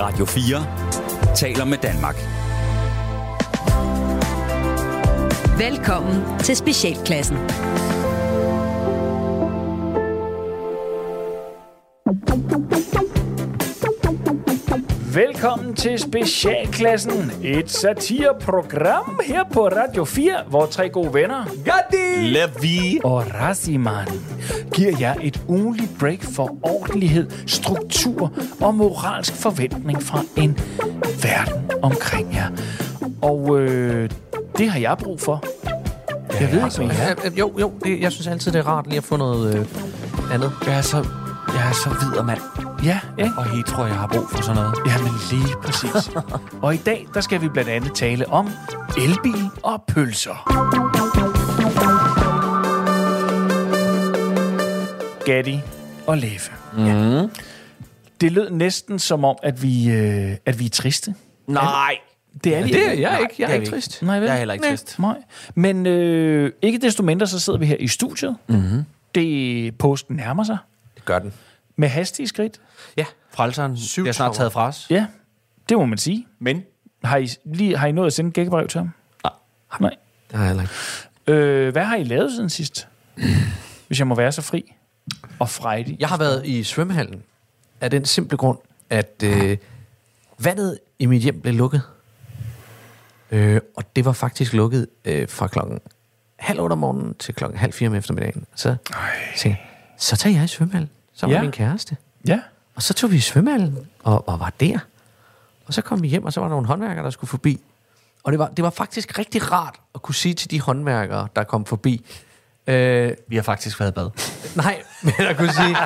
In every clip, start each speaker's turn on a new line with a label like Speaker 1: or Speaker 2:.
Speaker 1: Radio 4 taler med Danmark.
Speaker 2: Velkommen til Specialklassen.
Speaker 3: Velkommen til Specialklassen, et satireprogram her på Radio 4, hvor tre gode venner, Gatti
Speaker 4: Levi.
Speaker 3: og Raziman, giver jer et ugenligt break for ordentlighed, struktur og moralsk forventning fra en verden omkring jer. Og øh, det har jeg brug for. Jeg ved ikke, hvad I er.
Speaker 5: Ja, jo, jo, det, jeg synes altid, det er rart lige at få noget øh, andet.
Speaker 4: Jeg er så, jeg er så videre, mand.
Speaker 3: Ja, ikke?
Speaker 4: Og hetero, jeg har brug for sådan noget.
Speaker 3: Jamen lige præcis. og i dag, der skal vi blandt andet tale om elbil og pølser. Gatti og Leffe. Mm. Ja. Det lød næsten som om, at vi, øh, at vi er triste.
Speaker 4: Nej.
Speaker 3: Det er vi
Speaker 5: Det er
Speaker 3: ikke.
Speaker 5: jeg
Speaker 4: Nej,
Speaker 5: ikke. Jeg
Speaker 4: det
Speaker 5: er
Speaker 4: er
Speaker 5: ikke
Speaker 4: vi
Speaker 5: trist.
Speaker 3: Nej, vel?
Speaker 4: Jeg er heller ikke
Speaker 3: Nej.
Speaker 4: trist.
Speaker 3: Nej. Men øh, ikke desto mindre, så sidder vi her i studiet. Mm-hmm. Det posten nærmer sig
Speaker 4: Det gør den.
Speaker 3: med hastige skridt.
Speaker 5: Ja.
Speaker 4: Frelseren bliver snart
Speaker 5: tropper.
Speaker 4: taget fra os.
Speaker 3: Ja, det må man sige.
Speaker 4: Men?
Speaker 3: Har I, lige, har I nået at sende et gækkebrev til ham? Nej. Nej.
Speaker 5: Det har jeg heller ikke.
Speaker 3: Øh, hvad har I lavet siden sidst? Hvis jeg må være så fri og frejdig.
Speaker 5: Jeg har været i svømmehallen af den simple grund, at øh, vandet i mit hjem blev lukket. Øh, og det var faktisk lukket øh, fra klokken halv otte om morgenen til klokken halv fire om eftermiddagen. Så tænkte jeg, så tager jeg i svømmehallen sammen
Speaker 3: Ja.
Speaker 5: med min kæreste.
Speaker 3: Ja.
Speaker 5: Og så tog vi i svømmehallen og, og var der. Og så kom vi hjem, og så var der nogle håndværkere, der skulle forbi. Og det var, det var faktisk rigtig rart at kunne sige til de håndværkere, der kom forbi, øh,
Speaker 4: Vi har faktisk været i bad.
Speaker 5: nej, men at kunne sige,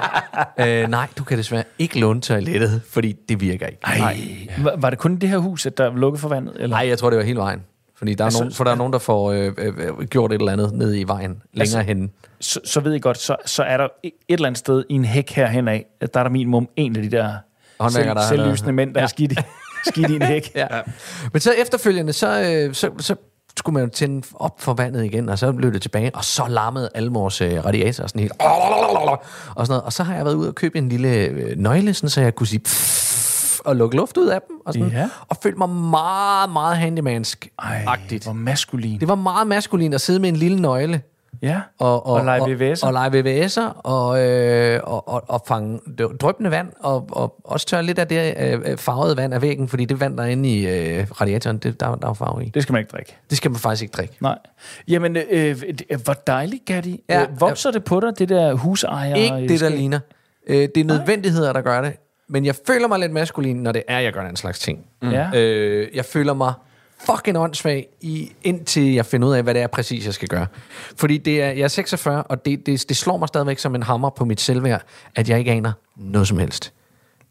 Speaker 5: øh, nej, du kan desværre ikke låne toilettet, fordi det virker ikke.
Speaker 3: Ej. Var, var det kun det her hus, at der var lukket for vandet? Eller?
Speaker 5: Nej, jeg tror, det var hele vejen. Fordi der er,
Speaker 3: Altså,
Speaker 5: nogen, for der er nogen, der får øh, øh, øh, gjort et eller andet nede i vejen, længere
Speaker 3: Altså-
Speaker 5: altså, henne.
Speaker 3: Så, så ved I godt, så, så er der et eller andet sted i en hæk herhen af, at der er der minimum en af de der
Speaker 5: Håndværkere, der har
Speaker 3: selvlysende mænd, der ja. er skidt i, skidt i en hæk.
Speaker 5: Ja. ja. Men så efterfølgende, så, øh, så, så skulle man jo tænde op for vandet igen, og så blev det tilbage, og så larmede alle vores øh, radiatorer sådan helt, og sådan noget. Og så har jeg været ude og købe en lille øh, nøgle, sådan, så jeg kunne sige, pff, og lukke luft ud af dem, og, sådan,
Speaker 3: Ja.
Speaker 5: og følte mig meget, meget
Speaker 3: Ej,
Speaker 5: handymansk-agtigt.
Speaker 3: hvor maskulin.
Speaker 5: Det var meget maskulin at sidde med en lille nøgle,
Speaker 3: Ja,
Speaker 5: og, og,
Speaker 3: og lege VVS'er.
Speaker 5: Og, og lege VVS'er, og, øh, og, og, og fange dø- dryppende vand, og, og også tørre lidt af det øh, øh, farvede vand af væggen, fordi det vand, der er inde i øh, radiatoren, det, der, der er jo farve i. Det,
Speaker 3: Det skal man ikke drikke.
Speaker 5: det skal man faktisk ikke drikke.
Speaker 3: Nej. Jamen, øh, det- hvor dejligt, Gatti.
Speaker 5: Ja.
Speaker 3: Øh, Vokser det på dig, det der husejer?
Speaker 5: ikke det, der ligner. Øh, det er nødvendigheder, der gør det, men jeg føler mig lidt maskulin, når det er, jeg gør den slags ting. Mm.
Speaker 3: Ja.
Speaker 5: Øh, jeg føler mig fucking åndssvag, i, indtil jeg finder ud af, hvad det er præcis, jeg skal gøre. Fordi det er, jeg er 46, og det, det, det slår mig stadigvæk som en hammer på mit selvværd, at jeg ikke aner noget som helst.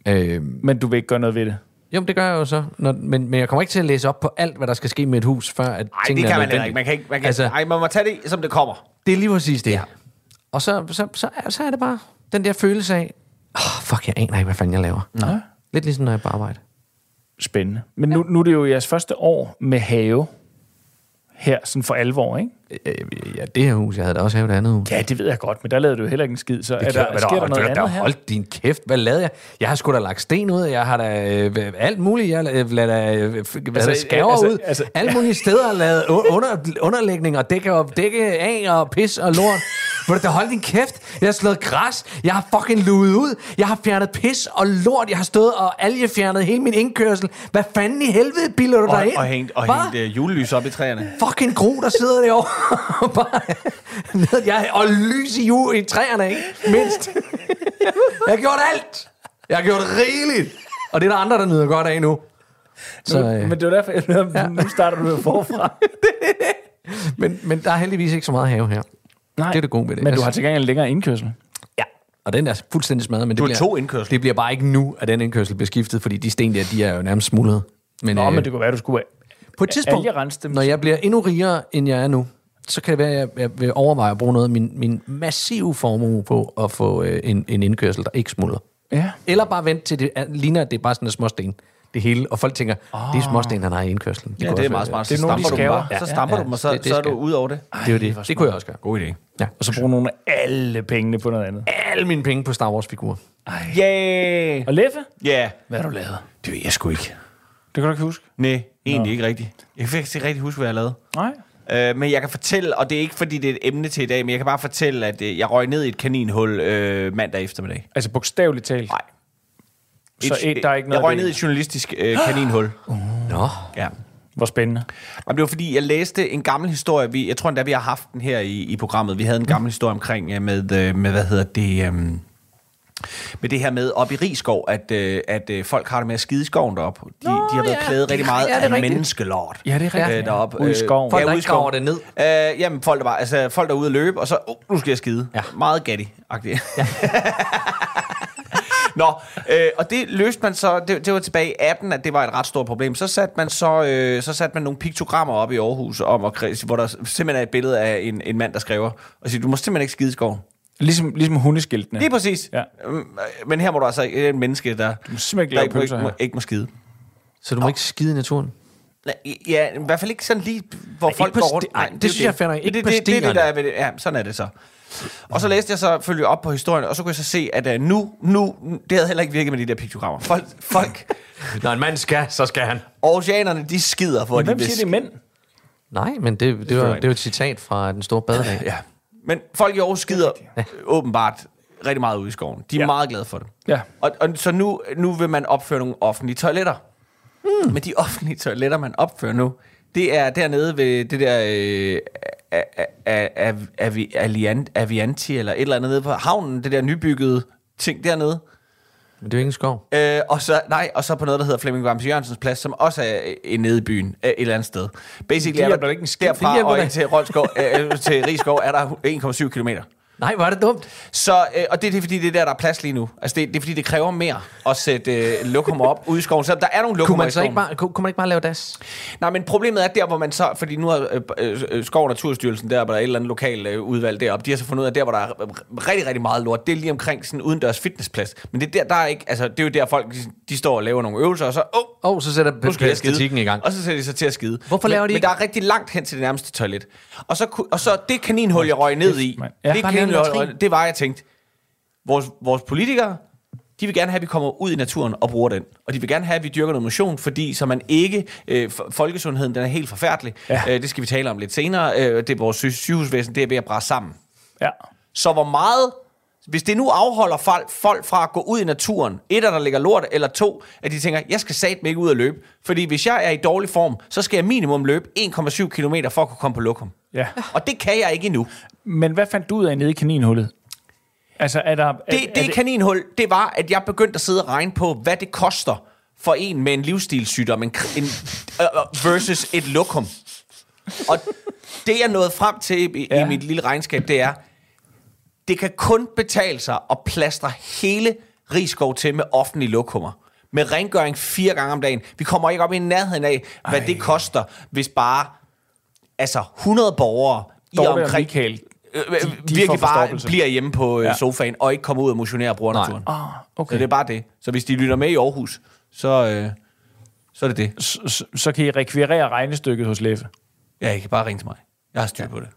Speaker 5: Øh,
Speaker 3: Men du vil ikke gøre noget ved det?
Speaker 5: jo, men det gør jeg jo så. Når, men, men jeg kommer ikke til at læse op på alt, hvad der skal ske med et hus, før at
Speaker 4: Nej, det
Speaker 5: tingene
Speaker 4: kan
Speaker 5: er
Speaker 4: man heller
Speaker 5: nødvendige.
Speaker 4: ikke. Man kan ikke man kan, altså,
Speaker 5: Altså-
Speaker 4: ej, man må tage det, som det kommer.
Speaker 5: Det er lige præcis det. Ja. Og så, så, så, er- så er det bare den der følelse af, oh, fuck, jeg aner ikke, hvad fanden jeg laver. Nej. Lidt ligesom, når jeg er på arbejde.
Speaker 3: Spændende. Men nu, nu er det jo jeres første år med have her, sådan for alvor, ikke?
Speaker 5: Øh, Ja, det her hus, jeg havde da også havet det andet hus.
Speaker 3: Ja, det ved jeg godt, men der lavede du jo heller ikke en skid, så det er
Speaker 5: Klart,
Speaker 3: der,
Speaker 5: men
Speaker 3: sker der noget
Speaker 5: du-
Speaker 3: andet her?
Speaker 5: Hold din kæft, hvad lavede jeg? Jeg har sgu da lagt sten ud, jeg har da øh, alt muligt, jeg har øh, lavet da, øh, f- lavet da skaver altså,
Speaker 3: altså,
Speaker 5: ud,
Speaker 3: altså-
Speaker 5: altså, alle mulige steder har lavet u- under, underlægning og dække, og dække af og pis og lort. Hvor det da hold din kæft, jeg har slået græs, jeg har fucking luet ud, jeg har fjernet pis og lort, jeg har stået og algefjernet hele min indkørsel. Hvad fanden i helvede bilder du dig ind? Hva?
Speaker 4: uh, julelys op i træerne.
Speaker 5: fucking gro, der sidder derovre. og bare, ned, jeg, og lys i, ju, i træerne, ikke? Mindst. jeg har gjort alt. Jeg har gjort rigeligt. Og det er der andre, der nyder godt af nu. Så, øh,
Speaker 3: Men det var derfor, jeg ja. nu starter du med forfra.
Speaker 5: men, men der er heldigvis ikke så meget have her. Det er det gode ved det.
Speaker 3: Men du har
Speaker 5: Altså,
Speaker 3: til gengæld en længere indkørsel.
Speaker 5: ja. Og den er fuldstændig smadret. Men
Speaker 4: Du har
Speaker 5: det bliver,
Speaker 4: to indkørsler.
Speaker 5: Det bliver bare ikke nu, at den indkørsel bliver skiftet, fordi de sten der, de er jo nærmest smuldret. Men,
Speaker 3: Nå,
Speaker 5: øh,
Speaker 3: men det kunne være, du skulle...
Speaker 5: På et tidspunkt,
Speaker 3: algerense dem.
Speaker 5: når jeg bliver endnu rigere, end jeg er nu, så kan det være, at jeg, jeg vil overveje at bruge noget af min, min massive formue på at få øh, en, en indkørsel, der ikke smuldrer.
Speaker 3: Ja.
Speaker 5: Eller bare vente til det er, ligner, at det er bare sådan en småsten, det hele. Og folk tænker, oh. det er småsten, han har i indkørslen.
Speaker 4: Ja,
Speaker 5: kunne
Speaker 4: det er meget
Speaker 5: også være-
Speaker 4: smart.
Speaker 3: det er
Speaker 4: så
Speaker 3: nogle, de
Speaker 4: stamper du dem
Speaker 3: skaver.
Speaker 4: bare.
Speaker 3: Ja,
Speaker 4: Så stamper
Speaker 5: ja.
Speaker 4: du dem, og så,
Speaker 5: Det- det
Speaker 4: så er du
Speaker 5: skal-
Speaker 4: ud over det.
Speaker 5: Det er jo det. Det kunne jeg også gøre.
Speaker 4: God idé.
Speaker 5: Ja.
Speaker 3: Og så bruge nogle af alle pengene på noget andet.
Speaker 5: Alle mine penge på Star Wars-figurer.
Speaker 4: Yay!
Speaker 6: tilbage.
Speaker 3: Og Leffe,
Speaker 6: Ja,
Speaker 3: hvad har du lavet?
Speaker 6: det ved jeg sgu ikke.
Speaker 3: Det kan du ikke huske.
Speaker 6: Nej, egentlig Nå. ikke rigtigt. Jeg kan faktisk ikke rigtig huske, hvad jeg lavede.
Speaker 3: Nej.
Speaker 6: Øh, men jeg kan fortælle, og det er ikke fordi, det er et emne til i dag, men jeg kan bare fortælle, at øh, jeg røg ned i et kaninhul øh, mandag eftermiddag.
Speaker 3: Altså bogstaveligt talt.
Speaker 6: Nej.
Speaker 3: Så et, der er ikke noget
Speaker 6: jeg røg
Speaker 3: ved
Speaker 6: ned i et journalistisk øh, kaninhul.
Speaker 5: Nå,
Speaker 6: Ja.
Speaker 3: Hvor spændende.
Speaker 6: Jamen, det var fordi, jeg læste en gammel historie. Vi, jeg tror endda, vi har haft den her i, i programmet. Vi havde
Speaker 5: Mm.
Speaker 6: en gammel historie omkring øh, med, øh, med, hvad hedder det... Øh, med det her med op i Rigskov, at, øh, at øh, folk har det med at skide i skoven deroppe. De, Nå, de har været
Speaker 5: ja.
Speaker 6: ja. plaget rigtig meget
Speaker 5: Ja, det er
Speaker 6: af
Speaker 5: rigtigt.
Speaker 6: menneskelort.
Speaker 3: Ja, det er rigtigt.
Speaker 6: Øh, deroppe.
Speaker 3: Ude i skoven.
Speaker 5: Folk, der
Speaker 6: ude i
Speaker 5: ikke
Speaker 6: skoven.
Speaker 5: graver det ned.
Speaker 6: Øh, jamen, folk der, bare, altså, folk der er ude at løbe, og så, oh, nu skal jeg skide.
Speaker 5: Ja.
Speaker 6: Ja. Meget gatti-agtigt. Ja. Nå, øh, og det løste man så, det, det var tilbage i 18, at det var et ret stort problem. Så satte man så, øh, så satte man nogle piktogrammer op i Aarhus, om at, kre- hvor der simpelthen er et billede af en, en mand, der skriver, og siger, du må simpelhen ikke skide i skoven.
Speaker 3: Ligesom, ligesom hundeskiltene.
Speaker 6: Lige præcis.
Speaker 3: Ja.
Speaker 6: Øhm, øh, Men her må du altså ikke, det er en menneske, der,
Speaker 3: må simpelthen ikke
Speaker 6: der
Speaker 3: lave
Speaker 6: ikke, må,
Speaker 3: pølser
Speaker 6: ikke, må,
Speaker 3: her.
Speaker 6: ikke må skide.
Speaker 5: Så du må ikke skide i naturen?
Speaker 6: Nej, Ja, i hvert fald ikke sådan lige, hvor
Speaker 5: Nej,
Speaker 6: Ej, folk
Speaker 5: ikke på
Speaker 6: går
Speaker 5: sti-
Speaker 6: rundt.
Speaker 5: Ej, det
Speaker 6: er jo
Speaker 5: synes jeg er fair nok.
Speaker 6: Det,
Speaker 5: Ikke
Speaker 6: det,
Speaker 5: på
Speaker 6: det, det, er det,
Speaker 5: stierne.
Speaker 6: der er ved det. Ja, sådan er det så. Og så læste jeg så følge op på historien, og så kunne jeg så se, at uh, nu, nu, det havde heller ikke virket med de der piktogrammer. Folk, folk
Speaker 5: Når en mand skal, så skal han.
Speaker 6: oceanerne, de skider for, at de
Speaker 3: Hvem
Speaker 6: bliver
Speaker 3: siger det er
Speaker 6: sk-
Speaker 3: mænd?
Speaker 5: Nej, men det, det, var, det var et citat fra Den Store Badedag.
Speaker 6: Ja. Men folk i Aarhus skider åbenbart rigtig meget ude i skoven. De er ja. meget glade for det.
Speaker 3: Ja.
Speaker 6: Og, og så nu, nu vil man opføre nogle offentlige toiletter. Mm. Men de offentlige toiletter, man opfører nu, det er dernede ved det der øh, A- A- A- A- Avi- Allian- Avianti, eller et eller andet nede på havnen, det der nybyggede ting dernede.
Speaker 5: Men det er jo ingen skov.
Speaker 6: Øh, og, så, nej, og så på noget, der hedder Flemming Vamse Jørgensens Plads, som også er øh, nede i byen øh, et eller andet sted. Basically
Speaker 3: Det
Speaker 6: er
Speaker 3: hjælper
Speaker 6: der,
Speaker 3: da ikke en skid. Det
Speaker 6: derfra
Speaker 3: hjælper
Speaker 6: og
Speaker 3: da
Speaker 6: ind til, Rolskov, øh, øh, til Rigskov er der 1,7 kilometer.
Speaker 5: Nej, hvor er det dumt.
Speaker 6: Så, øh, og det, er det er fordi, det er der, der er plads lige nu. Altså, det, det er fordi, det kræver mere at sætte øh, lokummer op ude i skoven. Så der er nogle
Speaker 5: Kunne
Speaker 6: lokummer i
Speaker 5: man, så
Speaker 6: skoven.
Speaker 5: ikke bare, kunne, kunne man ikke bare lave das?
Speaker 6: Nej, men problemet er der, hvor man så... Fordi nu har øh, øh, øh, Skov og Naturstyrelsen der, hvor der er et eller andet lokal øh, udvalg deroppe, de har så fundet ud af, der, hvor der er r- rigtig, rigtig meget lort, det er lige omkring sådan en udendørs fitnessplads. Men det er der, der er ikke... Altså, det er jo der, folk de, de står og laver nogle øvelser, og så... Åh, oh,
Speaker 5: Åh, oh, så sætter
Speaker 6: nu skal jeg
Speaker 5: pædagogikken
Speaker 6: skide.
Speaker 5: i gang.
Speaker 6: Og så sætter de sig til at skide.
Speaker 5: Hvorfor
Speaker 6: men,
Speaker 5: laver de
Speaker 6: Men
Speaker 5: ikke-
Speaker 6: der er rigtig langt hen til det nærmeste toilet. Og så, ku- og så det kaninhul, jeg røg ned i,
Speaker 3: mand. Ja.
Speaker 6: ja, det,
Speaker 5: Bare lave en
Speaker 6: kaninhul, jeg
Speaker 5: latrin.
Speaker 6: røg, ned- det var, jeg tænkte, vores, vores politikere, de vil gerne have, at vi kommer ud i naturen og bruger den. Og de vil gerne have, at vi dyrker noget motion, fordi så man ikke... Øh, f- folkesundheden, den er helt forfærdelig.
Speaker 3: Ja.
Speaker 6: Ja. Øh, det skal vi tale om lidt senere. Øh, det er vores sy- sygehusvæsen, det er ved at brænde sammen.
Speaker 3: Ja.
Speaker 6: Så hvor meget... Hvis det nu afholder folk, folk fra at gå ud i naturen, et at der ligger lort, eller to, at de tænker, jeg skal satme ikke ud og løbe. Fordi hvis jeg er i dårlig form, så skal jeg minimum løbe 1,7 km for at kunne komme på lokum.
Speaker 3: ja.
Speaker 6: Og det kan jeg ikke endnu.
Speaker 3: Men hvad fandt du ud af nede i
Speaker 6: Øh,
Speaker 3: kaninhullet? Altså, er der... er,
Speaker 6: Det, det,
Speaker 3: er
Speaker 6: det kaninhul, det var, at jeg begyndte at sidde og regne på, hvad det koster for en med en livsstilssygdom en, kr- en, øh, versus et lokum. Og det, jeg nåede frem til i, ja.
Speaker 3: Ja.
Speaker 6: i mit lille regnskab, det er, det kan kun betale sig at plastre hele Rigskov til med offentlige lokummer. Med rengøring fire gange om dagen. Vi kommer ikke op i nærheden af, hvad Ej. det koster, hvis bare altså 100 borgere
Speaker 3: Dorte
Speaker 6: i
Speaker 3: og
Speaker 6: omkring
Speaker 3: Michael,
Speaker 6: øh,
Speaker 3: de får
Speaker 6: virkelig bare
Speaker 3: forstoppelse.
Speaker 6: bliver hjemme på
Speaker 3: Ja.
Speaker 6: ja. sofaen og ikke kommer ud og motionerer og bruger
Speaker 5: Nej.
Speaker 6: naturen.
Speaker 3: Ah, okay.
Speaker 6: Så det er bare det. Så hvis de lytter med i Aarhus, så, øh, så er det det.
Speaker 3: S- s- så kan I rekvirere regnestykket hos Leffe.
Speaker 6: Ja, I kan bare ringe til mig. Jeg har styr på det.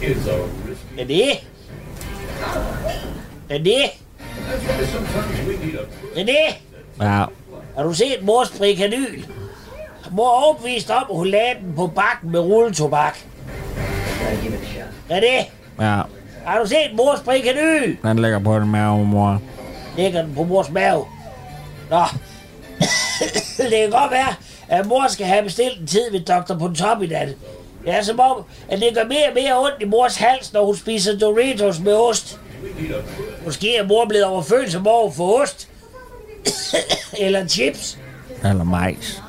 Speaker 2: René? René? René?
Speaker 7: Ja,
Speaker 2: Har du set mors prikanyl? Mor er overbevist om, at hun lagde den på bakken med rulletobak. René?
Speaker 7: ja.
Speaker 2: Har du set mors prikanyl?
Speaker 7: Den ligger på den mave, mor.
Speaker 2: Lægger den på mors mave. Nå. det kan godt være, at mor skal have bestilt en tid ved Dr. Pontop i nat. Det er som om, at det gør mere og mere ondt i mors hals, når hun spiser Doritos med ost. Måske er mor blevet overfølsom over for ost. Eller chips.
Speaker 7: Eller majs.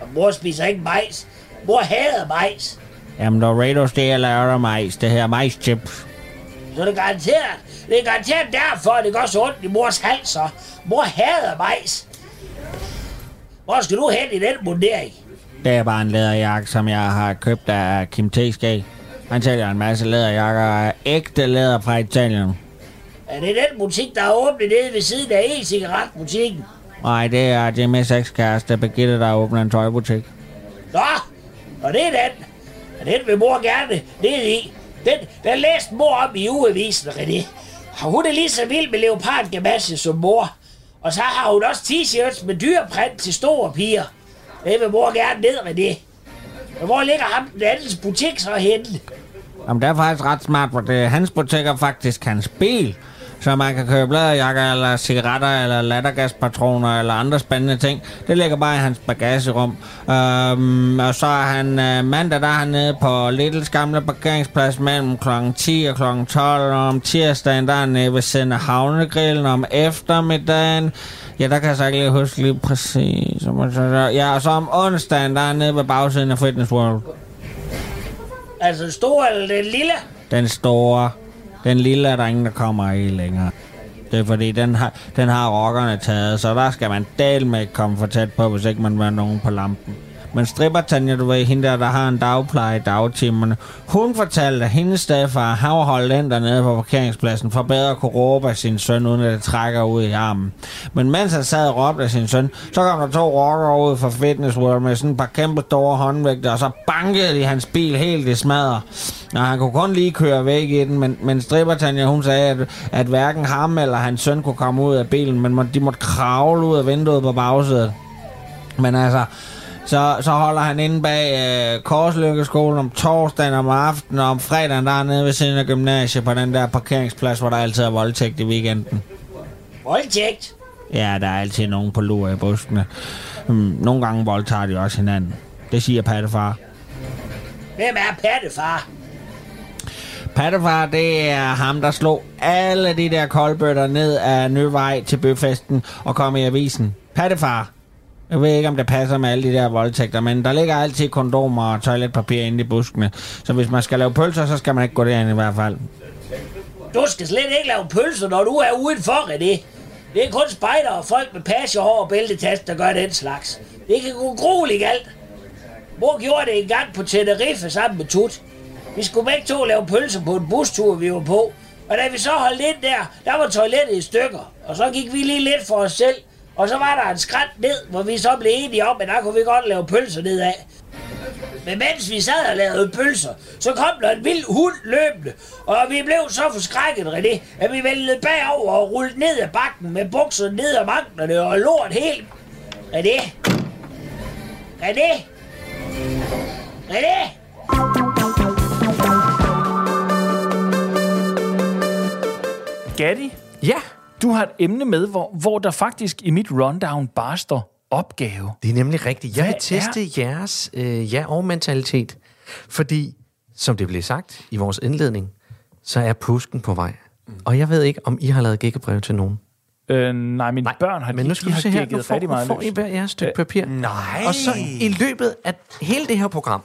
Speaker 2: Og mor spiser ikke majs. Mor hader majs.
Speaker 7: Jamen, Doritos, det er lavet af majs. Det her majschips.
Speaker 2: Så det er garanteret, det er garanteret derfor, at det gør så ondt i mors hals, så mor hader majs. Hvor skal du hen i den mundering?
Speaker 7: Det er bare en læderjakke, som jeg har købt af Kim Teskæg. Han sælger en masse læderjakker af ægte læder fra Italien.
Speaker 2: Er det den butik, der er åbnet nede ved siden af e-cigaretbutikken?
Speaker 7: Nej, det er Jimmys ekskæreste, Birgitte, der åbner en tøjbutik.
Speaker 2: Nå, og det er den. Men den vil mor gerne ned i. Den, den læste mor om i ugeavisen, René. Og hun er lige så vild med leopardgamasse som mor. Og så har hun også t-shirts med dyreprint til store piger. Den vil mor gerne ned, René. Men hvor ligger ham den andens butik så henne?
Speaker 7: Jamen, det er faktisk ret smart, for det er hans butik er faktisk hans bil. Så man kan købe læderjakker, eller cigaretter, eller lattergaspatroner, eller andre spændende ting. Det ligger bare i hans bagagerum. Øhm, og så er han øh, mandag, der er han nede på Littles gamle parkeringsplads mellem kl. 10 og kl. 12. Og om tirsdagen, der er han nede ved Sende Havnegrillen om eftermiddagen. Ja, der kan jeg så ikke lige huske lige præcis. Ja, og så om onsdagen, der er han nede ved bagsiden af Fitness World.
Speaker 2: Altså den store eller den lille?
Speaker 7: Den store. Den lille er der ingen, der kommer i længere. Det er fordi, den har, den har rockerne taget, så der skal man del med ikke komme for tæt på, hvis ikke man vil have nogen på lampen. Men stripper Tanja, du ved, hende der, der har en dagpleje i dagtimerne, hun fortalte, at hendes stedfar har holdt den dernede på parkeringspladsen for bedre at kunne råbe af sin søn, uden at det trækker ud i armen. Men mens han sad og råbte af sin søn, så kom der to rockere ud fra Fitness World med sådan et par kæmpe store håndvægter, og så bankede de hans bil helt i smadret. Og han kunne kun lige køre væk i den, men, men stripper Tanja, hun sagde, at, at hverken ham eller hans søn kunne komme ud af bilen, men må, de måtte kravle ud af vinduet på bagsædet. Men altså, så, så holder han inde bag øh, Korslykkeskolen om torsdagen om aftenen, og om fredagen der er nede ved siden af gymnasiet på den der parkeringsplads, hvor der altid er voldtægt i weekenden.
Speaker 2: Voldtægt.
Speaker 7: Ja, der er altid nogen på lur i buskene. Hmm, nogle gange voldtager de også hinanden. Det siger pattefar.
Speaker 2: Hvem er pattefar?
Speaker 7: Pattefar, det er ham, der slog alle de der koldbøtter ned af Nøvej til bøfesten og kom i avisen. Pattefar. Jeg ved ikke, om det passer med alle de der voldtægter, men der ligger altid kondomer og toiletpapir inde i buskene. Så hvis man skal lave pølser, så skal man ikke gå derind i hvert fald.
Speaker 2: Du skal slet ikke lave pølser, når du er udenfor, René. Det er kun spejder og folk med pasjehår og bæltetast, der gør den slags. Det kan gå grueligt alt. Mor gjorde det engang på Tenerife sammen med Tut. Vi skulle begge to lave pølser på en bustur, vi var på. Og da vi så holdt ind der, der var toilettet i stykker. Og så gik vi lige lidt for os selv. Og så var der en skrænt ned, hvor vi så blev enige om, at der kunne vi godt lave pølser nedad. Men mens vi sad og lavede pølser, så kom der en vild hund løbende, og vi blev så forskrækket, René, at vi væltede bagover og rullede ned ad bakken med bukserne ned ad manglerne og lort helt. René? René? René?
Speaker 3: Gatti,
Speaker 5: Ja,
Speaker 3: du har et emne med, hvor, hvor der faktisk i mit rundown bare står opgave.
Speaker 5: det er nemlig rigtigt. Jeg vil
Speaker 3: Hvad
Speaker 5: teste jeres øh, ja og mentalitet. Fordi, som det blev sagt i vores indledning, så er påsken på vej. Og jeg ved ikke, om I har lavet gækkebrev til nogen.
Speaker 3: Øh, nej, mine
Speaker 5: Nej,
Speaker 3: nej, børn har,
Speaker 5: men nu skal
Speaker 3: de
Speaker 5: du
Speaker 3: har
Speaker 5: se her, nu
Speaker 3: gækket
Speaker 5: får,
Speaker 3: rigtig
Speaker 5: nu
Speaker 3: meget
Speaker 5: får I Øh,
Speaker 3: løs. Øh,
Speaker 5: hver jeres stykke papir.
Speaker 4: nej.
Speaker 5: Og så i løbet af hele det her program,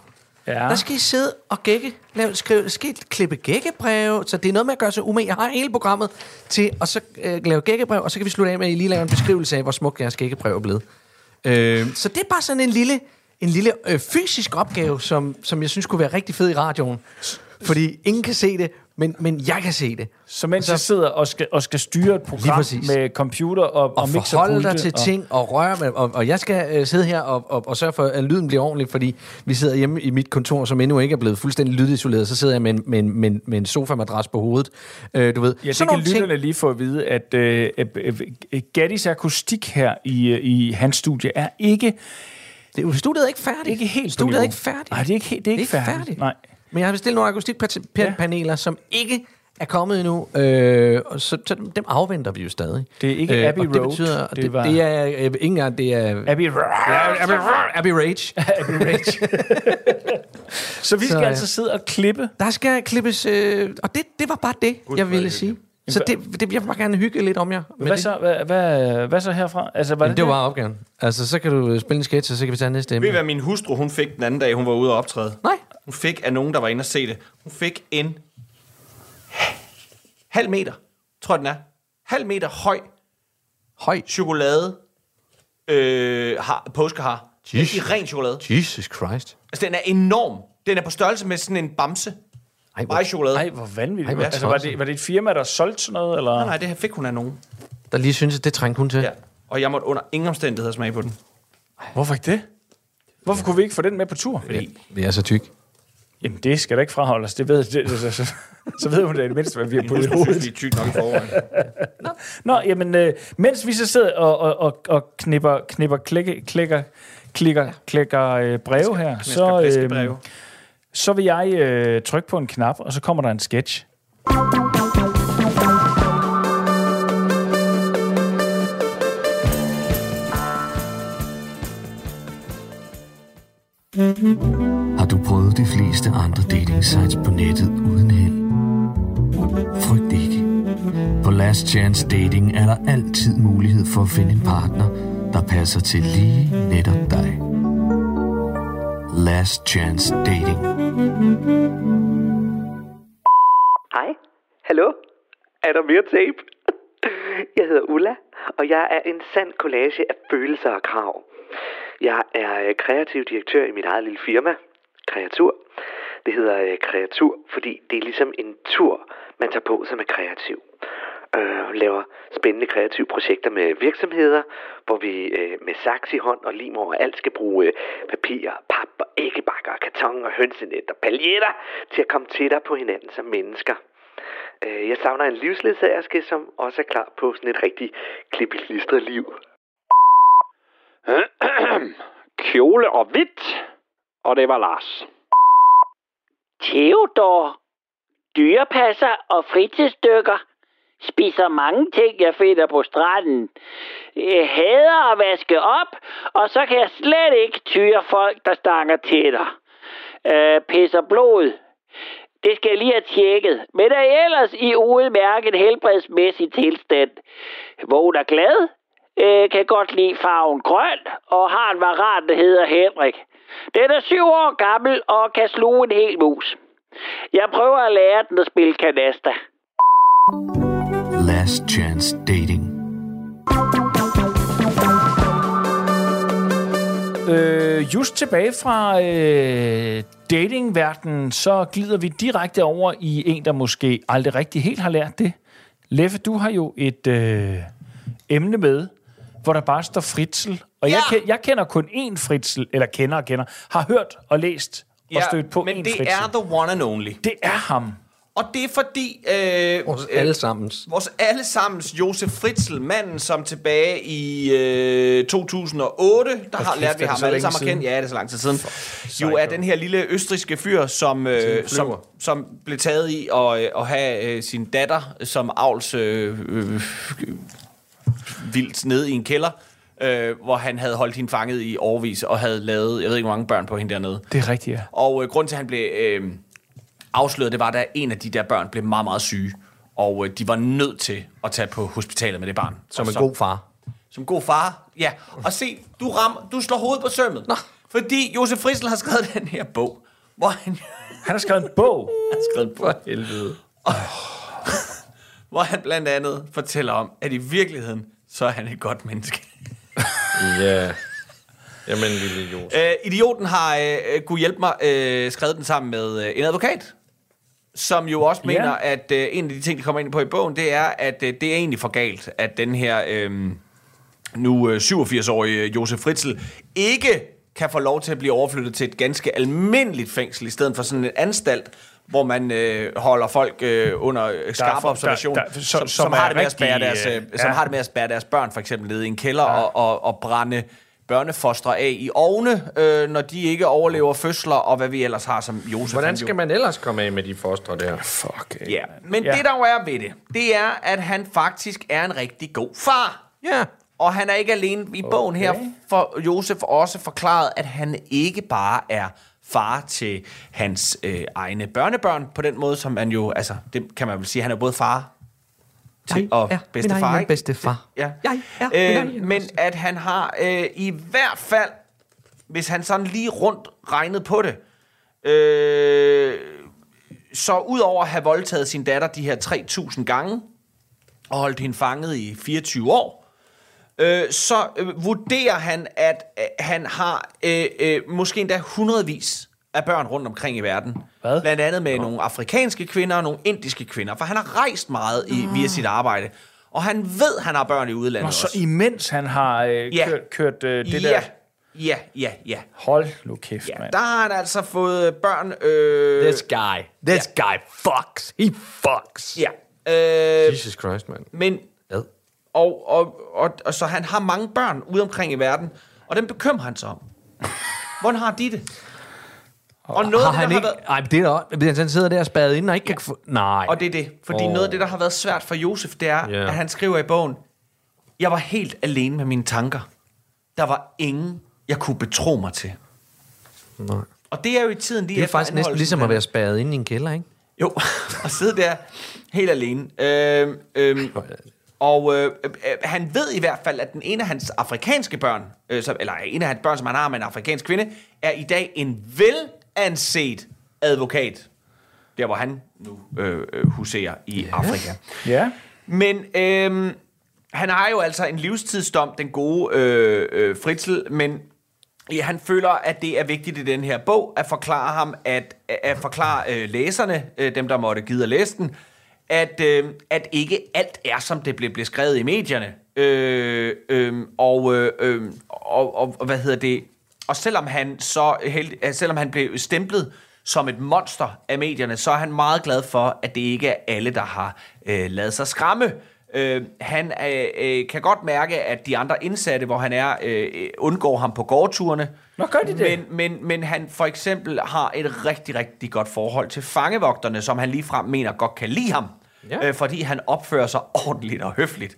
Speaker 5: ja.
Speaker 3: Ja.
Speaker 5: der skal I sidde og gække, lave, skrive, skal I klippe gækkebreve, så det er noget med at gøre sig umage. Jeg har hele programmet til at så, øh, lave gækkebrev, og så kan vi slutte af med, at I lige laver en beskrivelse af, hvor smuk jeres gækkebrev er blevet. Øh, så det er bare sådan en lille, en lille øh, fysisk opgave, som, som jeg synes kunne være rigtig fed i radioen. Fordi ingen kan se det, men, men jeg kan se det.
Speaker 3: Så mens jeg sidder og skal, og skal styre et program
Speaker 5: præcis.
Speaker 3: med computer og, og,
Speaker 5: og forholde dig
Speaker 3: mixerpulte
Speaker 5: til
Speaker 3: og-
Speaker 5: ting og røre med, og, og jeg skal øh, sidde her og, og, og sørge for, at lyden bliver ordentlig, fordi vi sidder hjemme i mit kontor, som endnu ikke er blevet fuldstændig lydisoleret, så sidder jeg med en, med en, med en, med en sofa-madras på hovedet, øh, du ved.
Speaker 3: Ja, det
Speaker 5: Sådan
Speaker 3: kan
Speaker 5: nogle ting-
Speaker 3: lytterne lige få at vide, at øh, øh, øh, øh, Gattis akustik her i, øh, i hans studie er ikke,
Speaker 5: Det er jo- Studiet er ikke færdigt.
Speaker 3: ikke helt på
Speaker 5: Studiet er
Speaker 3: niveau.
Speaker 5: ikke færdigt.
Speaker 3: Nej, det er ikke, helt- det er ikke,
Speaker 5: Det er ikke
Speaker 3: færdigt.
Speaker 5: færdigt.
Speaker 3: Nej.
Speaker 5: Men jeg har bestilt nogle akustikpaneler, ja. som ikke er kommet endnu, øh, og så, så dem, dem afventer vi jo stadig. Øh,
Speaker 3: Det er ikke Abbey
Speaker 5: og det
Speaker 3: Road,
Speaker 5: Betyder, det,
Speaker 3: det
Speaker 5: det,
Speaker 3: var-
Speaker 5: det er øh, ikke engang, det er...
Speaker 3: Abby,
Speaker 5: Ja, Abbey, Abbey Rage. Abbey Rage.
Speaker 3: så vi
Speaker 5: Så,
Speaker 3: skal
Speaker 5: ja.
Speaker 3: altså sidde og klippe.
Speaker 5: Der skal klippes... Øh, og det, det var bare det, God, jeg ville sige. Så det, det, jeg vil bare gerne hygge lidt om jer. med
Speaker 3: Hvad
Speaker 5: det.
Speaker 3: så, hvad, hvad, hvad så herfra? Altså, var
Speaker 5: Men
Speaker 3: det,
Speaker 5: det var bare opgaven. Altså, så kan du spille en sketch, og så kan vi tage næste
Speaker 6: Ved I,
Speaker 5: emne.
Speaker 6: hvad min hustru hun fik den anden dag, hun var ude og optræde?
Speaker 5: Nej.
Speaker 6: Hun fik af nogen, der var inde og se det. Hun fik en halv meter, tror jeg den er, halv meter høj
Speaker 5: Høj.
Speaker 6: chokolade øh, har, påskehar.
Speaker 5: Jeez.
Speaker 6: I ren chokolade.
Speaker 5: Jesus Christ.
Speaker 6: Altså, den er enorm. Den er på størrelse med sådan en bamse.
Speaker 5: Ej, hvor,
Speaker 6: Bare i chokolade.
Speaker 3: Nej,
Speaker 6: Nej,
Speaker 3: hvor vanvittigt.
Speaker 5: Ej, hvor
Speaker 3: altså, var,
Speaker 5: tosset.
Speaker 3: det, var det et firma, der solgte sådan noget? Eller?
Speaker 6: nej, det her fik hun af nogen.
Speaker 5: der lige synes, at det trængte hun til.
Speaker 6: Ja. Og jeg måtte under ingen omstændigheder smage på den.
Speaker 3: Hvorfor ikke det? Hvorfor kunne vi ikke få den med på tur?
Speaker 5: Vi er så tyk.
Speaker 3: Jamen, det skal da ikke fraholdes. Det ved, det, så, så, så ved hun da i det mindste, hvad vi har puttet i hovedet.
Speaker 6: Det er tykt nok i forvejen.
Speaker 3: Nå, jamen, øh, mens vi så sidder og, og, og, og knipper, knipper klikke, klikker, klikker, klikker øh, breve her, så, øh,
Speaker 6: Fiskebreve.
Speaker 3: så vil jeg øh, trykke på en knap, og så kommer der en sketch.
Speaker 5: har du prøvet de fleste andre dating sites på nettet uden held. Frygt ikke. På Last Chance Dating er der altid mulighed for at finde en partner, der passer til lige netop dig. Last Chance Dating.
Speaker 8: Hej. Hallo. Er der mere tape? Jeg hedder Ulla, og jeg er en sand collage af følelser og krav. Jeg er øh, kreativ direktør i mit eget lille firma, Kreatur. Det hedder øh, Kreatur, fordi det er ligesom en tur, man tager på, som er kreativ. Øh, laver spændende kreative projekter med virksomheder, hvor vi øh, med saks i hånd og lim over alt skal bruge øh, papir, pap og æggebakker, og karton og hønsenet og paljetter til at komme tættere på hinanden som mennesker. Øh, jeg savner en livsledsagerske, som også er klar på sådan et rigtig klippeklistret liv.
Speaker 9: kjole og hvidt, og det var Lars. Theodor, dyrepasser og fritidsdykker, spiser mange ting, jeg finder på stranden. Jeg hader at vaske op, og så kan jeg slet ikke tyre folk, der stanger til dig. Øh, pisser blod. Det skal jeg lige have tjekket. Men er ellers i udmærket helbredsmæssig tilstand. Vågner glad, øh, kan godt lide farven grøn, og har en varan, der hedder Henrik. Den er syv år gammel og kan sluge en hel mus. Jeg prøver at lære den at spille kanasta.
Speaker 5: Last Chance Dating.
Speaker 3: Øh, just tilbage fra øh, datingverdenen, så glider vi direkte over i en, der måske aldrig rigtig helt har lært det. Leffe, du har jo et øh, emne med, hvor der bare står fritsel. Og ja. jeg, ke- jeg kender kun én fritsel, eller kender og kender, har hørt og læst og stødt på
Speaker 6: men
Speaker 3: én
Speaker 6: det
Speaker 3: fritsel.
Speaker 6: er the one and only.
Speaker 3: det er ham.
Speaker 6: Og det er fordi... Øh,
Speaker 10: Vores allesammens.
Speaker 6: Vores allesammens Josef Fritzl, manden som tilbage i øh, 2008, der har lært vi
Speaker 10: er det
Speaker 6: ham
Speaker 10: så
Speaker 6: alle
Speaker 10: længe
Speaker 6: sammen at
Speaker 10: siden.
Speaker 6: kende. Ja, det er så lang tid siden. Jo er den her lille østriske fyr, som, øh, som,
Speaker 10: flyver.
Speaker 6: som blev taget i at, øh, at have øh, sin datter som avls øh, øh, vildt ned i en kælder. Øh, hvor han havde holdt hende fanget i årvis og havde lavet, jeg ved ikke, hvor mange børn på hende dernede.
Speaker 3: Det er rigtigt, ja.
Speaker 6: Og øh, grund til, at han blev øh, afsløret, det var, da en af de der børn blev meget, meget syge. Og øh, de var nødt til at tage på hospitalet med det barn.
Speaker 10: Som
Speaker 6: Og
Speaker 10: en
Speaker 6: så-
Speaker 10: god far.
Speaker 6: Som god far, ja. Og se, du, rammer, du slår hovedet på sømmet. Nå. Fordi Josef Fritzl har skrevet den her bog, hvor han
Speaker 3: Han har skrevet en bog.
Speaker 6: har skrevet en bog. For helvede. Og, hvor han blandt andet fortæller om, at i virkeligheden, så er han et godt menneske.
Speaker 11: Ja. Jamen, lille Josef.
Speaker 6: Øh, idioten har, øh, øh, kunne hjælpe mig, øh, skrevet den sammen med øh, en advokat, som jo også
Speaker 3: Ja.
Speaker 6: mener, at øh, en af de ting, de kommer ind på i bogen, det er, at øh, det er egentlig for galt, at den her øh, nu øh, 87-årige Josef Fritzl ikke kan få lov til at blive overflyttet til et ganske almindeligt fængsel, i stedet for sådan en anstalt, hvor man øh, holder folk øh, under øh, skarp
Speaker 3: for-
Speaker 6: observation,
Speaker 3: der- der- som-
Speaker 6: som, som,
Speaker 3: som er
Speaker 6: har det med at
Speaker 3: rigtig,
Speaker 6: spærre deres, øh,
Speaker 3: øh,
Speaker 6: som
Speaker 3: ja.
Speaker 6: har det med at spærre deres børn for eksempel nede i en kælder og, og, og brænde børnefostre af i ovne, øh, når de ikke overlever fødsler og hvad vi ellers har som Josef.
Speaker 11: Hvordan
Speaker 6: han jo-
Speaker 11: skal man ellers komme af med de fostre der? Fuck.
Speaker 6: Ja, men
Speaker 3: Ja.
Speaker 6: det der jo er ved det, det er, at han faktisk er en rigtig god far.
Speaker 10: Ja.
Speaker 6: Og han er ikke alene i bogen her, for Josef også forklaret, at han ikke bare er far til hans øh, egne børnebørn, på den måde, som han jo, altså, det kan man vel sige, han er både far til, og
Speaker 10: ja, min
Speaker 6: bedstefar,
Speaker 10: egen
Speaker 6: ikke?
Speaker 10: bedstefar.
Speaker 6: Ja.
Speaker 10: Jeg er min
Speaker 6: ja. Øh,
Speaker 10: egen
Speaker 6: men at han har øh, i hvert fald, hvis han sådan lige rundt regnede på det, øh, så udover at have voldtaget sin datter de her 3.000 gange, og holdt hende fanget i 24 år, øh, så øh, vurderer han, at øh, han har øh, øh, måske endda hundredvis af børn rundt omkring i verden.
Speaker 3: Hvad?
Speaker 6: Blandt andet med nogle afrikanske kvinder og nogle indiske kvinder, for han har rejst meget i, via sit arbejde. Og han ved, han har børn i udlandet
Speaker 3: Og Ah. så
Speaker 6: også.
Speaker 3: imens han har øh,
Speaker 6: Ja.
Speaker 3: kørt, kørt øh, det
Speaker 6: ja.
Speaker 3: der...
Speaker 6: Ja, ja, ja.
Speaker 3: Hold nu kæft,
Speaker 6: ja
Speaker 3: mand.
Speaker 6: der har han altså fået børn. Øh,
Speaker 5: This guy. This guy fucks. He fucks.
Speaker 6: ja. Øh,
Speaker 5: Jesus Christ, mand.
Speaker 6: men,
Speaker 5: Ad.
Speaker 6: og, og, og, og, så han har mange børn ude omkring i verden, og den bekymrer han sig om. Hvordan har de det? Og noget
Speaker 5: Har
Speaker 6: af det,
Speaker 5: han
Speaker 6: der
Speaker 5: ikke...
Speaker 6: har været,
Speaker 5: Ej, men det er da også... hvis Han sidder der og spadet ind og ikke ja. kan få... Nej.
Speaker 6: og det er det. Fordi oh. noget af det, der har været svært for Josef, det er,
Speaker 12: Ja.
Speaker 6: yeah. at han skriver i bogen, jeg var helt alene med mine tanker. Der var ingen, jeg kunne betro mig til.
Speaker 5: Nej.
Speaker 6: Og det er jo i tiden lige
Speaker 5: Det er
Speaker 6: efter
Speaker 5: faktisk næsten
Speaker 6: anholdelsen,
Speaker 5: ligesom at
Speaker 6: han-
Speaker 5: være spadet inde i en kælder, ikke?
Speaker 6: Jo, og sidde der helt alene. Øhm, øhm, og øh, øh, øh, han ved i hvert fald, at den ene af hans afrikanske børn, øh, som, eller en af hans børn, som han har med en afrikansk kvinde, er i dag en velanset advokat. Der, hvor han nu øh, øh, huserer i yeah. Afrika.
Speaker 3: Ja.
Speaker 6: Men øhm, han har jo altså en livstidsdom, den gode øh, øh, Fritzl, men ja, han føler, at det er vigtigt i den her bog at forklare ham, at, at forklare øh, læserne, øh, dem der måtte gide at læse den, at, øh, at ikke alt er, som det blev beskrevet i medierne. Øh, øh, og, øh, øh, og, og, og hvad hedder det? Og selvom han så held, øh, selvom han blev stemplet som et monster af medierne, så er han meget glad for, at det ikke er alle, der har øh, lavet sig skræmme. Øh, han øh, øh, kan godt mærke, at de andre indsatte, hvor han er, øh, øh, undgår ham på gårdturene.
Speaker 3: Nå, gør de det?
Speaker 6: Men, men, men han for eksempel har et rigtig, rigtig godt forhold til fangevogterne, som han ligefrem mener godt kan lide ham. Ja.
Speaker 5: Ja.
Speaker 6: Øh, fordi han opfører sig ordentligt og høfligt.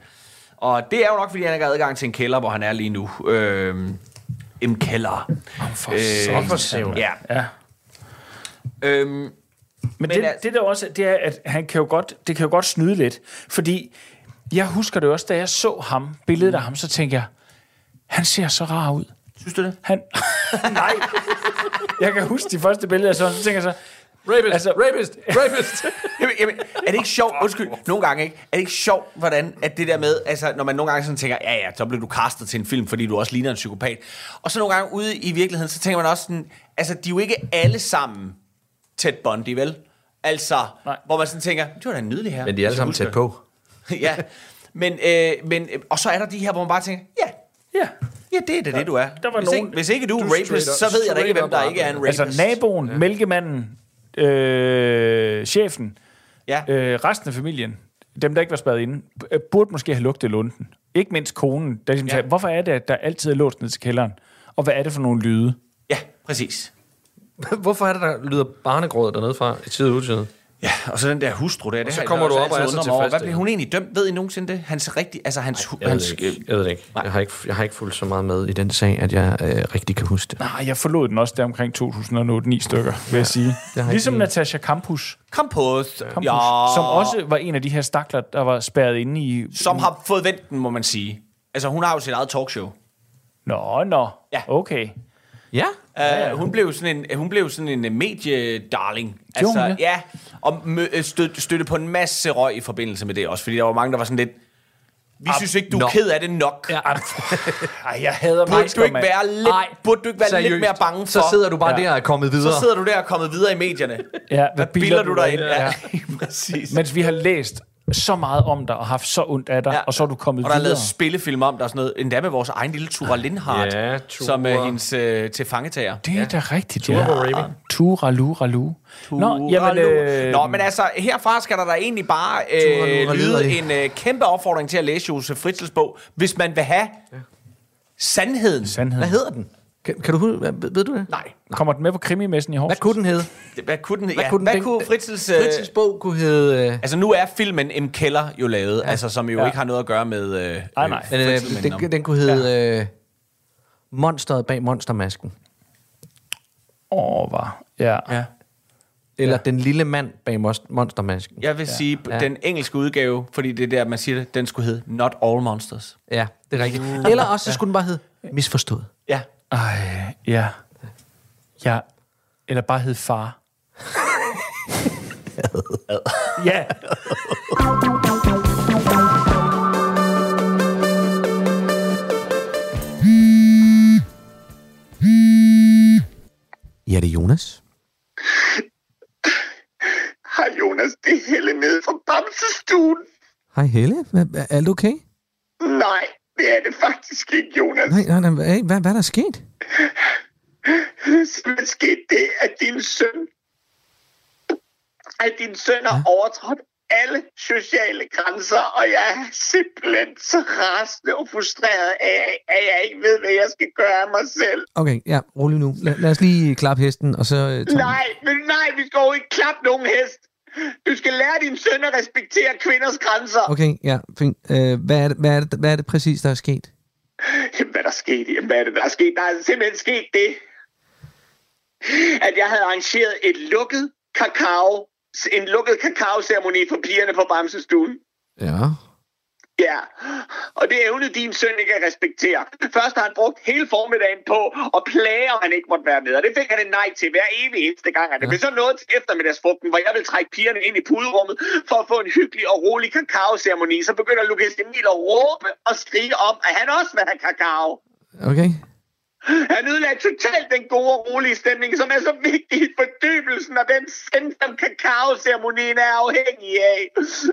Speaker 6: Og det er jo nok, fordi han ikke har adgang til en kælder, hvor han er lige nu. Øh, en kælder.
Speaker 3: For
Speaker 6: Øh, ja.
Speaker 3: ja.
Speaker 6: Øhm,
Speaker 3: Men,
Speaker 6: Men
Speaker 3: det,
Speaker 6: altså-
Speaker 3: det der også er, det er, at han kan jo godt, det kan jo godt snyde lidt, fordi jeg husker det også, da jeg så ham, billedet af ham, så tænkte jeg, han ser så rar ud.
Speaker 6: Mm. synes du det?
Speaker 3: Han, nej, jeg kan huske de første billeder, jeg så, så tænker jeg så,
Speaker 5: Rapist,
Speaker 3: Altså-
Speaker 5: rapist, rapist.
Speaker 6: Jamen, jamen, er det ikke sjovt, undskyld, nogle gange ikke, er det ikke sjovt, hvordan at det der med, altså når man nogle gange sådan tænker, ja ja, så blev du castet til en film, fordi du også ligner en psykopat. Og så nogle gange ude i virkeligheden, så tænker man også sådan, altså de er jo ikke alle sammen Ted Bundy, vel? Altså, Nej. hvor man sådan tænker, det var da en nydelig her.
Speaker 5: Men de er alle sammen tæt på.
Speaker 6: ja, men, øh, men, øh, og så er der de her, hvor man bare tænker, ja,
Speaker 3: ja.
Speaker 6: ja det er da det, du er.
Speaker 3: der var
Speaker 6: hvis,
Speaker 3: nogen-
Speaker 6: ikke, hvis ikke du er
Speaker 3: du er
Speaker 6: rapist,
Speaker 3: straight
Speaker 6: så
Speaker 3: up-
Speaker 6: ved jeg da ikke,
Speaker 3: straight
Speaker 6: hvem
Speaker 3: up
Speaker 6: der ikke er en rapist.
Speaker 3: Altså naboen, ja. mælkemanden, øh, chefen,
Speaker 6: Ja.
Speaker 3: øh, resten af familien, dem der ikke var spadet inde, øh, burde måske have lugtet lunden. Ikke mindst konen, der ligesom
Speaker 6: Ja.
Speaker 3: ja. sagde, hvorfor er det, at der altid er låst ned til kælderen? Og hvad er det for nogle lyde?
Speaker 6: Ja, præcis.
Speaker 5: Hvorfor er det, der lyder barnegråd dernede fra i tid og utid?
Speaker 6: Ja, og så den der hustru der. Og det
Speaker 5: så
Speaker 6: har jeg
Speaker 5: kommer
Speaker 6: også
Speaker 5: du op og er
Speaker 6: altid
Speaker 5: så
Speaker 6: undret mig over. Hvad
Speaker 5: tilfreds,
Speaker 6: blev hun egentlig dømt? Ved I nogensinde det? Hans rigtige... Altså hans... Ej,
Speaker 5: Jeg ved
Speaker 6: hans
Speaker 5: det ikke. Jeg, ved det ikke. jeg, har ikke, jeg har ikke fulgt så meget med i den sag, at jeg øh, rigtig kan huske det.
Speaker 3: Nej, jeg forlod den også der omkring 2008-9 stykker, vil jeg sige.
Speaker 5: ikke
Speaker 3: Ligesom
Speaker 5: lige-
Speaker 3: Natasha Campus,
Speaker 6: Kampos.
Speaker 3: Campus
Speaker 6: Ja.
Speaker 3: som også var en af de her stakler, der var spærret inde i...
Speaker 6: Som har fået vendt den, må man sige. Altså, hun har jo sit eget talkshow.
Speaker 3: Nå, nå,
Speaker 6: Ja.
Speaker 3: ja. okay.
Speaker 5: Ja?
Speaker 6: Uh, hun blev jo sådan en, hun blev sådan en øh, mediedarling. Altså,
Speaker 3: Gjorde hun det?
Speaker 6: ja, og mø- øh, stød, stødte på en masse røg i forbindelse med det også, fordi der var mange, der var sådan lidt... Vi synes ikke, du er
Speaker 5: nå.
Speaker 6: ked af det nok. Ja.
Speaker 3: Ah, Ej, jeg hader
Speaker 6: Burde du
Speaker 3: mennesker,
Speaker 6: ikke
Speaker 3: mand.
Speaker 6: være lidt, burde du ikke være lidt mere bange for?
Speaker 5: Så sidder du bare ja. der og er kommet videre.
Speaker 6: så sidder du der og er kommet videre i medierne.
Speaker 3: Ja,
Speaker 6: Hvad
Speaker 3: hvad
Speaker 6: bilder du dig ind?
Speaker 3: Ja.
Speaker 6: Ja, præcis.
Speaker 3: Mens vi har læst så meget om dig og haft så ondt af dig, ja. og så er du kommet
Speaker 6: Og der er
Speaker 3: videre.
Speaker 6: lavet spillefilm om der og sådan noget. Endda med vores egen lille Tura Lindhardt,
Speaker 12: Ja, Tura.
Speaker 6: som er hendes øh, tilfangetager.
Speaker 3: Det er da rigtigt,
Speaker 5: Tura Raven.
Speaker 3: Tura lura lu. Nå,
Speaker 6: Tura
Speaker 3: jamen,
Speaker 6: Lu.
Speaker 3: øh,
Speaker 6: Nå, men altså, herfra skal der da egentlig bare øh,
Speaker 5: Tura Lu, hedder
Speaker 6: lyde
Speaker 5: det.
Speaker 6: en øh, kæmpe opfordring til at læse Josef Fritzels bog, hvis man vil have sandheden.
Speaker 3: Sandheden.
Speaker 5: Hvad hedder den? Kan, kan du huske, hvad, ved, ved du det?
Speaker 6: Nej,
Speaker 3: Kommer den med på krimimessen i
Speaker 5: Hvad
Speaker 3: Horsens?
Speaker 5: kunne den hedde?
Speaker 6: det- hvad kunne, den, hvad ja,
Speaker 5: kunne den-
Speaker 6: hvad
Speaker 5: den-
Speaker 6: kunne Fritzels... Øh,
Speaker 5: Fritzels bog kunne hedde... Øh,
Speaker 6: Altså, nu er filmen M. Keller jo lavet, ja. altså, som jo ja.
Speaker 3: Ja.
Speaker 6: ikke har noget at gøre med... Øh,
Speaker 3: Ej, nej.
Speaker 5: men,
Speaker 6: Fritzl, men
Speaker 5: øh,
Speaker 6: om-
Speaker 5: den, den kunne hedde... Ja. Øh, Monsteret bag monstermasken.
Speaker 3: Åh, var. Ja. ja.
Speaker 5: Eller ja. Den lille mand bag mos- monstermasken.
Speaker 6: Jeg vil ja. sige, ja. den engelske udgave, fordi det er der, man siger det, den skulle hedde Not All Monsters.
Speaker 5: Ja, det er rigtigt. Eller også, så skulle den bare hedde Misforstået.
Speaker 6: Ja.
Speaker 3: Ej, ja. Ja. Eller bare hed far. ja.
Speaker 5: Ja, det er Jonas.
Speaker 13: Hej Jonas, det er Helle nede fra Bamsestuen.
Speaker 5: Hej Helle, Hva- er alt okay?
Speaker 13: Nej, det er det faktisk ikke, Jonas.
Speaker 5: Nej, nej, nej. Hey, hvad, hvad er der sket?
Speaker 13: Så skete det, at din søn, at din søn har overtrådt alle sociale grænser, og jeg er simpelthen så rasende og frustreret af, at jeg ikke ved, hvad jeg skal gøre af mig selv.
Speaker 5: Okay, ja, rolig nu. Lad, lad os lige klappe hesten, og så... øh, tager vi-
Speaker 13: Nej, men nej, vi skal jo ikke klappe nogen hest. Du skal lære din søn at respektere kvinders grænser.
Speaker 5: Okay, ja, fint. Øh, hvad, er det, hvad, er det, hvad er det præcis, der er sket?
Speaker 13: Jamen, hvad er der skete? Jamen, hvad er det, der er sket? Der er simpelthen sket det, at jeg havde arrangeret et lukket kakao, en lukket kakaoceremoni for pigerne på Bamsestuen.
Speaker 5: Ja.
Speaker 13: Ja, og det evnede din søn ikke at respektere. Først har han brugt hele formiddagen på at plage, om han ikke måtte være med, og det fik han et nej til hver evig eneste gang. Og det blev så nået til eftermiddagsfugten, hvor jeg ville trække pigerne ind i puderummet for at få en hyggelig og rolig kakaoceremoni. Så begynder Lukas Emil at råbe og skrige om, at han også vil have kakao.
Speaker 5: Okay.
Speaker 13: Han ødelagde totalt den gode og rolige stemning, som er så vigtig i fordybelsen, og den sind, som kakaoceremonien er afhængig af.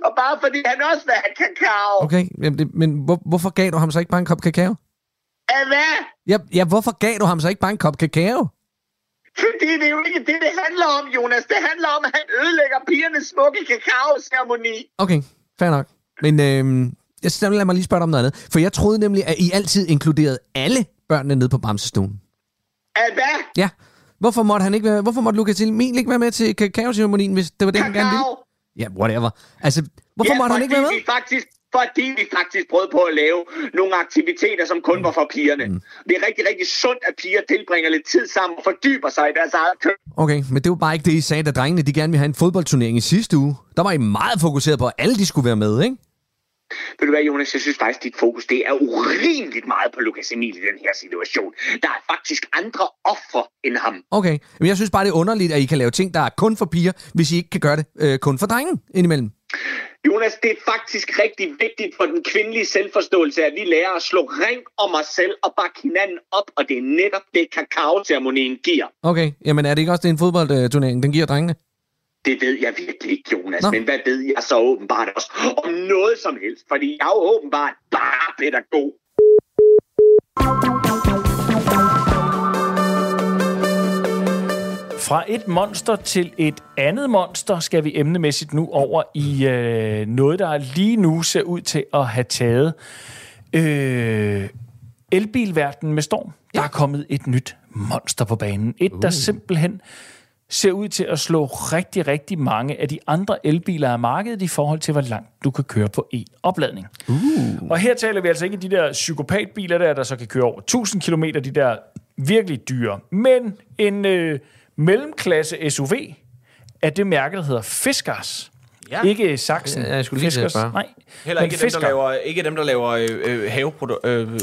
Speaker 13: Og bare fordi han også vil have kakao.
Speaker 5: Okay, jamen, det, men hvor, hvorfor gav du ham så ikke bare en kop kakao?
Speaker 13: Af hvad?
Speaker 5: Ja, ja, hvorfor gav du ham så ikke bare en kop kakao?
Speaker 13: Fordi det er jo ikke det, det handler om, Jonas. Det handler om, at han ødelægger pigernes smukke kakaoceremoni.
Speaker 5: Okay, fair nok. Men øhm, jeg så lad mig lige spørge dig om noget andet. For jeg troede nemlig, at I altid inkluderede alle børnene nede på Bamsestuen.
Speaker 13: Af hvad?
Speaker 5: Ja. Hvorfor måtte, han ikke være, hvorfor måtte Lukas Emil ikke være med til kakaoceremonien, hvis det var det, han gerne ville?
Speaker 13: Kakao.
Speaker 5: Ja, whatever. Altså, hvorfor
Speaker 13: ja,
Speaker 5: måtte han ikke være
Speaker 13: fordi
Speaker 5: med?
Speaker 13: Vi faktisk, fordi vi faktisk prøvede på at lave nogle aktiviteter, som kun var for pigerne. Mm. Det er rigtig, rigtig sundt, at piger tilbringer lidt tid sammen og fordyber sig i deres eget køn.
Speaker 5: Okay, men det var bare ikke det, I sagde, da drengene de gerne ville have en fodboldturnering i sidste uge. Der var I meget fokuseret på, at alle de skulle være med, ikke?
Speaker 13: Ved du hvad, Jonas, jeg synes faktisk, dit fokus det er urimeligt meget på Lukas Emil i den her situation. Der er faktisk andre ofre end ham.
Speaker 5: Okay, men jeg synes bare, det er underligt, at I kan lave ting, der er kun for piger, hvis I ikke kan gøre det øh, kun for drenge indimellem.
Speaker 13: Jonas, det er faktisk rigtig vigtigt for den kvindelige selvforståelse, at vi lærer at slå ring om os selv og bakke hinanden op, og det er netop det, kakaoceremonien giver.
Speaker 5: Okay, jamen er det ikke også det er en fodboldturnering, den giver drengene?
Speaker 13: Det ved jeg virkelig ikke, Jonas,
Speaker 5: Nå.
Speaker 13: Nå. men hvad ved jeg så åbenbart også om noget som helst? Fordi jeg er jo åbenbart bare pædagog.
Speaker 3: Fra et monster til et andet monster skal vi emnemæssigt nu over i øh, noget, der lige nu ser ud til at have taget øh, elbilverdenen med storm. Der er kommet et nyt monster på banen. Et, der simpelthen ser ud til at slå rigtig, rigtig mange af de andre elbiler af markedet i forhold til, hvor langt du kan køre på E. én opladning. Uh. Og her taler vi altså ikke de der psykopatbiler der, der så kan køre over 1000 km, de der virkelig dyre. Men en øh, mellemklasse SUV af det mærke, der hedder Fiskars. Ja. Ikke Saxen.
Speaker 5: Ja, jeg skulle lige til at
Speaker 3: Fiskars.
Speaker 5: spørge.
Speaker 3: Nej.
Speaker 6: Heller
Speaker 3: men
Speaker 6: ikke dem, der
Speaker 3: Fisker.
Speaker 6: laver, ikke dem, der laver øh, øh, haveprodukter. Øh, øh,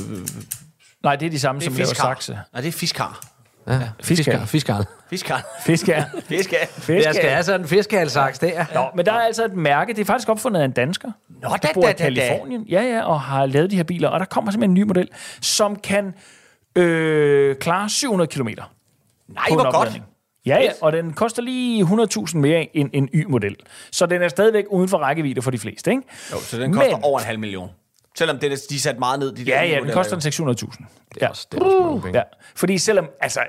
Speaker 3: Nej, det er de samme,
Speaker 6: det
Speaker 3: som
Speaker 6: er
Speaker 3: laver
Speaker 6: fiskar.
Speaker 3: Saxe.
Speaker 6: Nej, det er fiskar.
Speaker 5: Ja, fiskal. Fiskal.
Speaker 6: Fiskar.
Speaker 3: Fiskar.
Speaker 6: Fiskar.
Speaker 5: Jeg skal
Speaker 3: Fiskar.
Speaker 5: have sådan altså- en fiskalsaks der.
Speaker 3: Nå, men der er altså et mærke, det er faktisk opfundet af en dansker. Nå,
Speaker 6: da,
Speaker 3: bor
Speaker 6: da,
Speaker 3: i
Speaker 6: da, da.
Speaker 3: Kalifornien. Ja, ja, og har lavet de her biler. Og der kommer simpelthen en ny model, som kan øh, klare 700 km. Nej,
Speaker 6: hvor godt.
Speaker 3: Ja, ja, og den koster lige 100.000 mere end en Y-model. Så den er stadigvæk uden for rækkevidde for de fleste, ikke?
Speaker 6: Jo, så den koster
Speaker 3: Men-
Speaker 6: over en halv million. Selvom den er, de er sat meget ned. De der
Speaker 3: Ja,
Speaker 6: nye
Speaker 3: ja, den
Speaker 6: modeller,
Speaker 3: koster
Speaker 6: jo.
Speaker 3: en 600.000. Det er også, det er også ja. Fordi selvom, altså,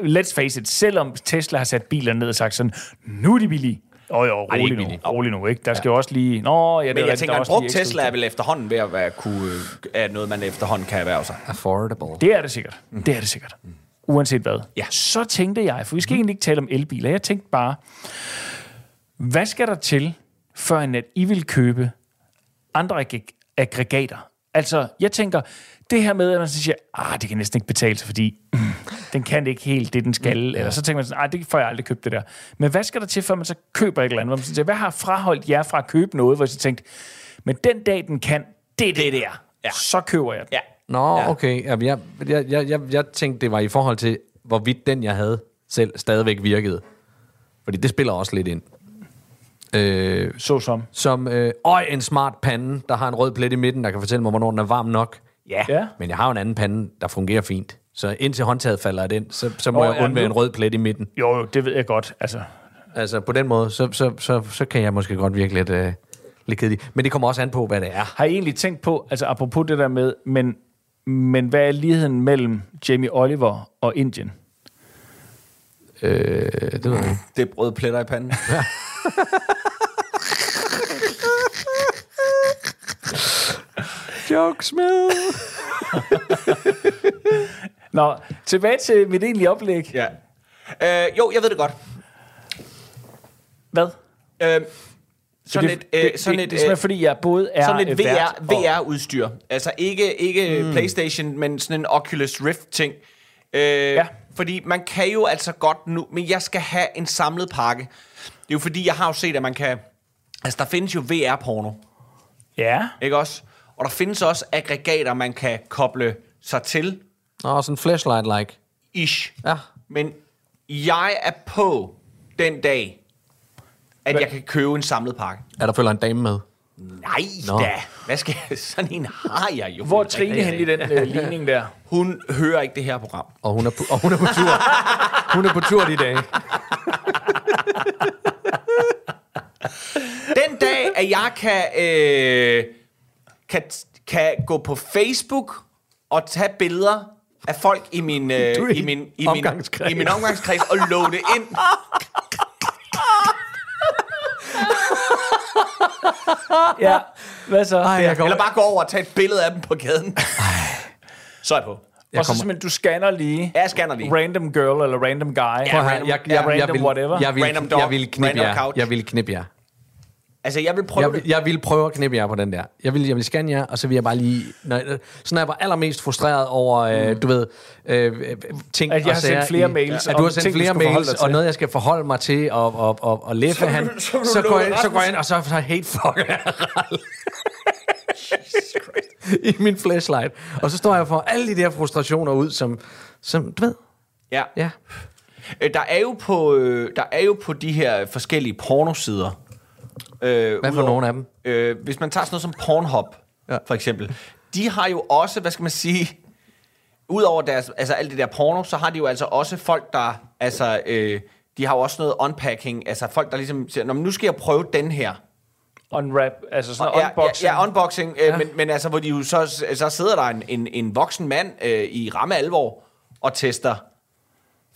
Speaker 3: let's face it, selvom Tesla har sat bilerne ned og sagt sådan, nu er de billige. Åh jo,
Speaker 6: er ikke
Speaker 3: rolig
Speaker 6: billige.
Speaker 3: nu, rolig nu, ikke? Der skal jo også lige... Nå, ja, det er
Speaker 6: Men jeg
Speaker 3: rigtigt,
Speaker 6: tænker,
Speaker 3: der
Speaker 6: en
Speaker 3: også lige
Speaker 6: brugt
Speaker 3: ekstra
Speaker 6: Tesla er vel efterhånden ved at være kunne, øh, er noget, man efterhånden kan erhverve sig.
Speaker 5: Affordable.
Speaker 3: Det er det sikkert. Mm. Det er det sikkert. Mm. Uanset hvad.
Speaker 6: Ja.
Speaker 3: Så tænkte jeg, for vi skal egentlig ikke tale om elbiler. Jeg tænkte bare, hvad skal der til, før end at I vil købe andre aggre- aggregater? Altså, jeg tænker, det her med, at man så siger, ah, det kan næsten ikke betale sig, fordi mm, den kan ikke helt det, den skal. Ja. Eller så tænker man sådan, ah, det får jeg aldrig købt det der. Men hvad skal der til, før man så køber et eller andet? Hvor man så siger, hvad har fraholdt jer fra at købe noget, hvor I så tænkte, men den dag, den kan det, det der, ja. så køber jeg den.
Speaker 6: Ja.
Speaker 5: Nå, okay. Jamen, jeg, jeg, jeg, jeg, jeg tænkte, det var i forhold til, hvorvidt den, jeg havde selv, stadigvæk virkede. Fordi det spiller også lidt ind. Øh,
Speaker 3: Så som.
Speaker 5: som, øh, øj, en smart pande, der har en rød plet i midten, der kan fortælle mig, hvornår den er varm nok. Ja,
Speaker 3: Ja.
Speaker 5: men jeg har jo en anden pande, der fungerer fint. Så indtil håndtaget falder af den, så, så må
Speaker 3: Nå,
Speaker 5: jeg
Speaker 3: ja,
Speaker 5: undvære
Speaker 3: nu-
Speaker 5: en rød plet i midten.
Speaker 3: Jo, jo, det ved jeg godt. Altså,
Speaker 5: Altså, på den måde, så, så, så, så kan jeg måske godt virke lidt, øh, lidt kedelig. Men det kommer også an på, hvad det er.
Speaker 3: har I egentlig tænkt på, altså apropos det der med, men Men hvad er ligheden mellem Jamie Oliver og Indien?
Speaker 5: Øh, det ved jeg
Speaker 4: Det er brød pletter i panden.
Speaker 3: Jokes med. Nå, tilbage til mit egentlige oplæg.
Speaker 6: Ja. Øh, jo, jeg ved det godt.
Speaker 3: Hvad?
Speaker 6: Øh, sådan
Speaker 3: det,
Speaker 6: et, øh,
Speaker 3: det,
Speaker 6: sådan
Speaker 3: det,
Speaker 6: et,
Speaker 3: det er simpelthen
Speaker 6: øh,
Speaker 3: fordi, jeg både er
Speaker 6: sådan et
Speaker 3: øh, vært Hmm.
Speaker 6: VR, VR-udstyr. Altså ikke, ikke mm. PlayStation, men sådan en Oculus Rift-ting. Øh, ja. Fordi man kan jo altså godt nu, men jeg skal have en samlet pakke. Det er jo fordi, jeg har jo set, at man kan... Altså, der findes jo VR-porno,
Speaker 3: Ja.
Speaker 6: ikke også? Og der findes også aggregater, man kan koble sig til.
Speaker 5: Nå, sådan flashlight-like.
Speaker 6: Ish.
Speaker 5: Ja.
Speaker 6: Men jeg er på den dag, at jeg kan købe en samlet pakke.
Speaker 5: Er der følger en dame med?
Speaker 6: Nej
Speaker 5: Nå.
Speaker 6: Nå. da. Hvad skal jeg? Sådan en har jeg jo.
Speaker 3: Hvor er Trine hen i den øh, ligning der?
Speaker 6: Hun hører ikke det her program.
Speaker 5: Og hun er på, og hun er på tur. hun er på tur de dage.
Speaker 6: Den dag, at jeg kan, øh, kan, kan gå på Facebook og tage billeder af folk i min, øh,
Speaker 5: Du er
Speaker 6: i min, i min,
Speaker 5: omgangskreds.
Speaker 6: i min omgangskreds og låne det ind.
Speaker 3: Ja, hvad så?
Speaker 5: Ej, jeg
Speaker 6: Eller
Speaker 5: kommer,
Speaker 6: bare gå over og tage et billede af dem på gaden. Så er jeg på.
Speaker 3: og så
Speaker 5: kommer-
Speaker 3: simpelthen, du scanner lige
Speaker 6: Ja, Jeg scanner lige.
Speaker 3: random girl eller random guy.
Speaker 5: prøv at høre,
Speaker 6: random-
Speaker 5: jeg, jeg, jeg,
Speaker 3: random
Speaker 5: vil,
Speaker 3: whatever.
Speaker 5: jeg vil,
Speaker 6: Random dog.
Speaker 5: jeg vil knippe
Speaker 6: Random
Speaker 5: jer.
Speaker 6: couch.
Speaker 5: Jeg vil knippe jer.
Speaker 6: Altså, jeg vil prøve
Speaker 5: Jeg,
Speaker 6: det.
Speaker 5: vil- jeg vil prøve at knippe jer på den der. Jeg vil, jeg vil scanne jer, og så vil jeg bare lige... Når, jeg- sådan er jeg bare allermest frustreret over, øh, du ved, øh, øh, ting
Speaker 3: Mm. At jeg
Speaker 5: og
Speaker 3: har
Speaker 5: sager
Speaker 3: sendt flere mails
Speaker 5: At
Speaker 3: om
Speaker 5: du har sendt
Speaker 3: ting, du
Speaker 5: flere
Speaker 3: skulle forholde
Speaker 5: mails,
Speaker 3: dig til.
Speaker 5: og noget, jeg skal forholde mig til, og, og, og, og læffe han.
Speaker 6: så vil du
Speaker 5: så, går
Speaker 6: lukke
Speaker 5: jeg, så går jeg
Speaker 6: Rasmus.
Speaker 5: ind, og så, så hate fucker jeg Harald. I min flashlight. Og så står jeg for alle de der frustrationer ud, som, som du ved,
Speaker 6: Ja.
Speaker 5: ja.
Speaker 6: Øh, Der er jo på, øh, der er jo på de her forskellige pornosider. Øh,
Speaker 5: Hvad for
Speaker 6: udover-
Speaker 5: nogle af dem?
Speaker 6: Øh, hvis man tager sådan noget som Pornhub,
Speaker 5: Ja.
Speaker 6: ja. for eksempel. De har jo også, hvad skal man sige, udover deres, altså alt det der porno, så har de jo altså også folk, der, altså, øh, de har jo også noget unpacking, altså folk, der ligesom siger, "Nå, men nu skal jeg prøve den her.
Speaker 3: Unwrap, altså sådan
Speaker 6: ja,
Speaker 3: noget unboxing.
Speaker 6: Ja, ja, unboxing, ja. Øh, men, men altså, hvor de jo så, så sidder der en, en, en voksen mand øh, i ramme alvor og tester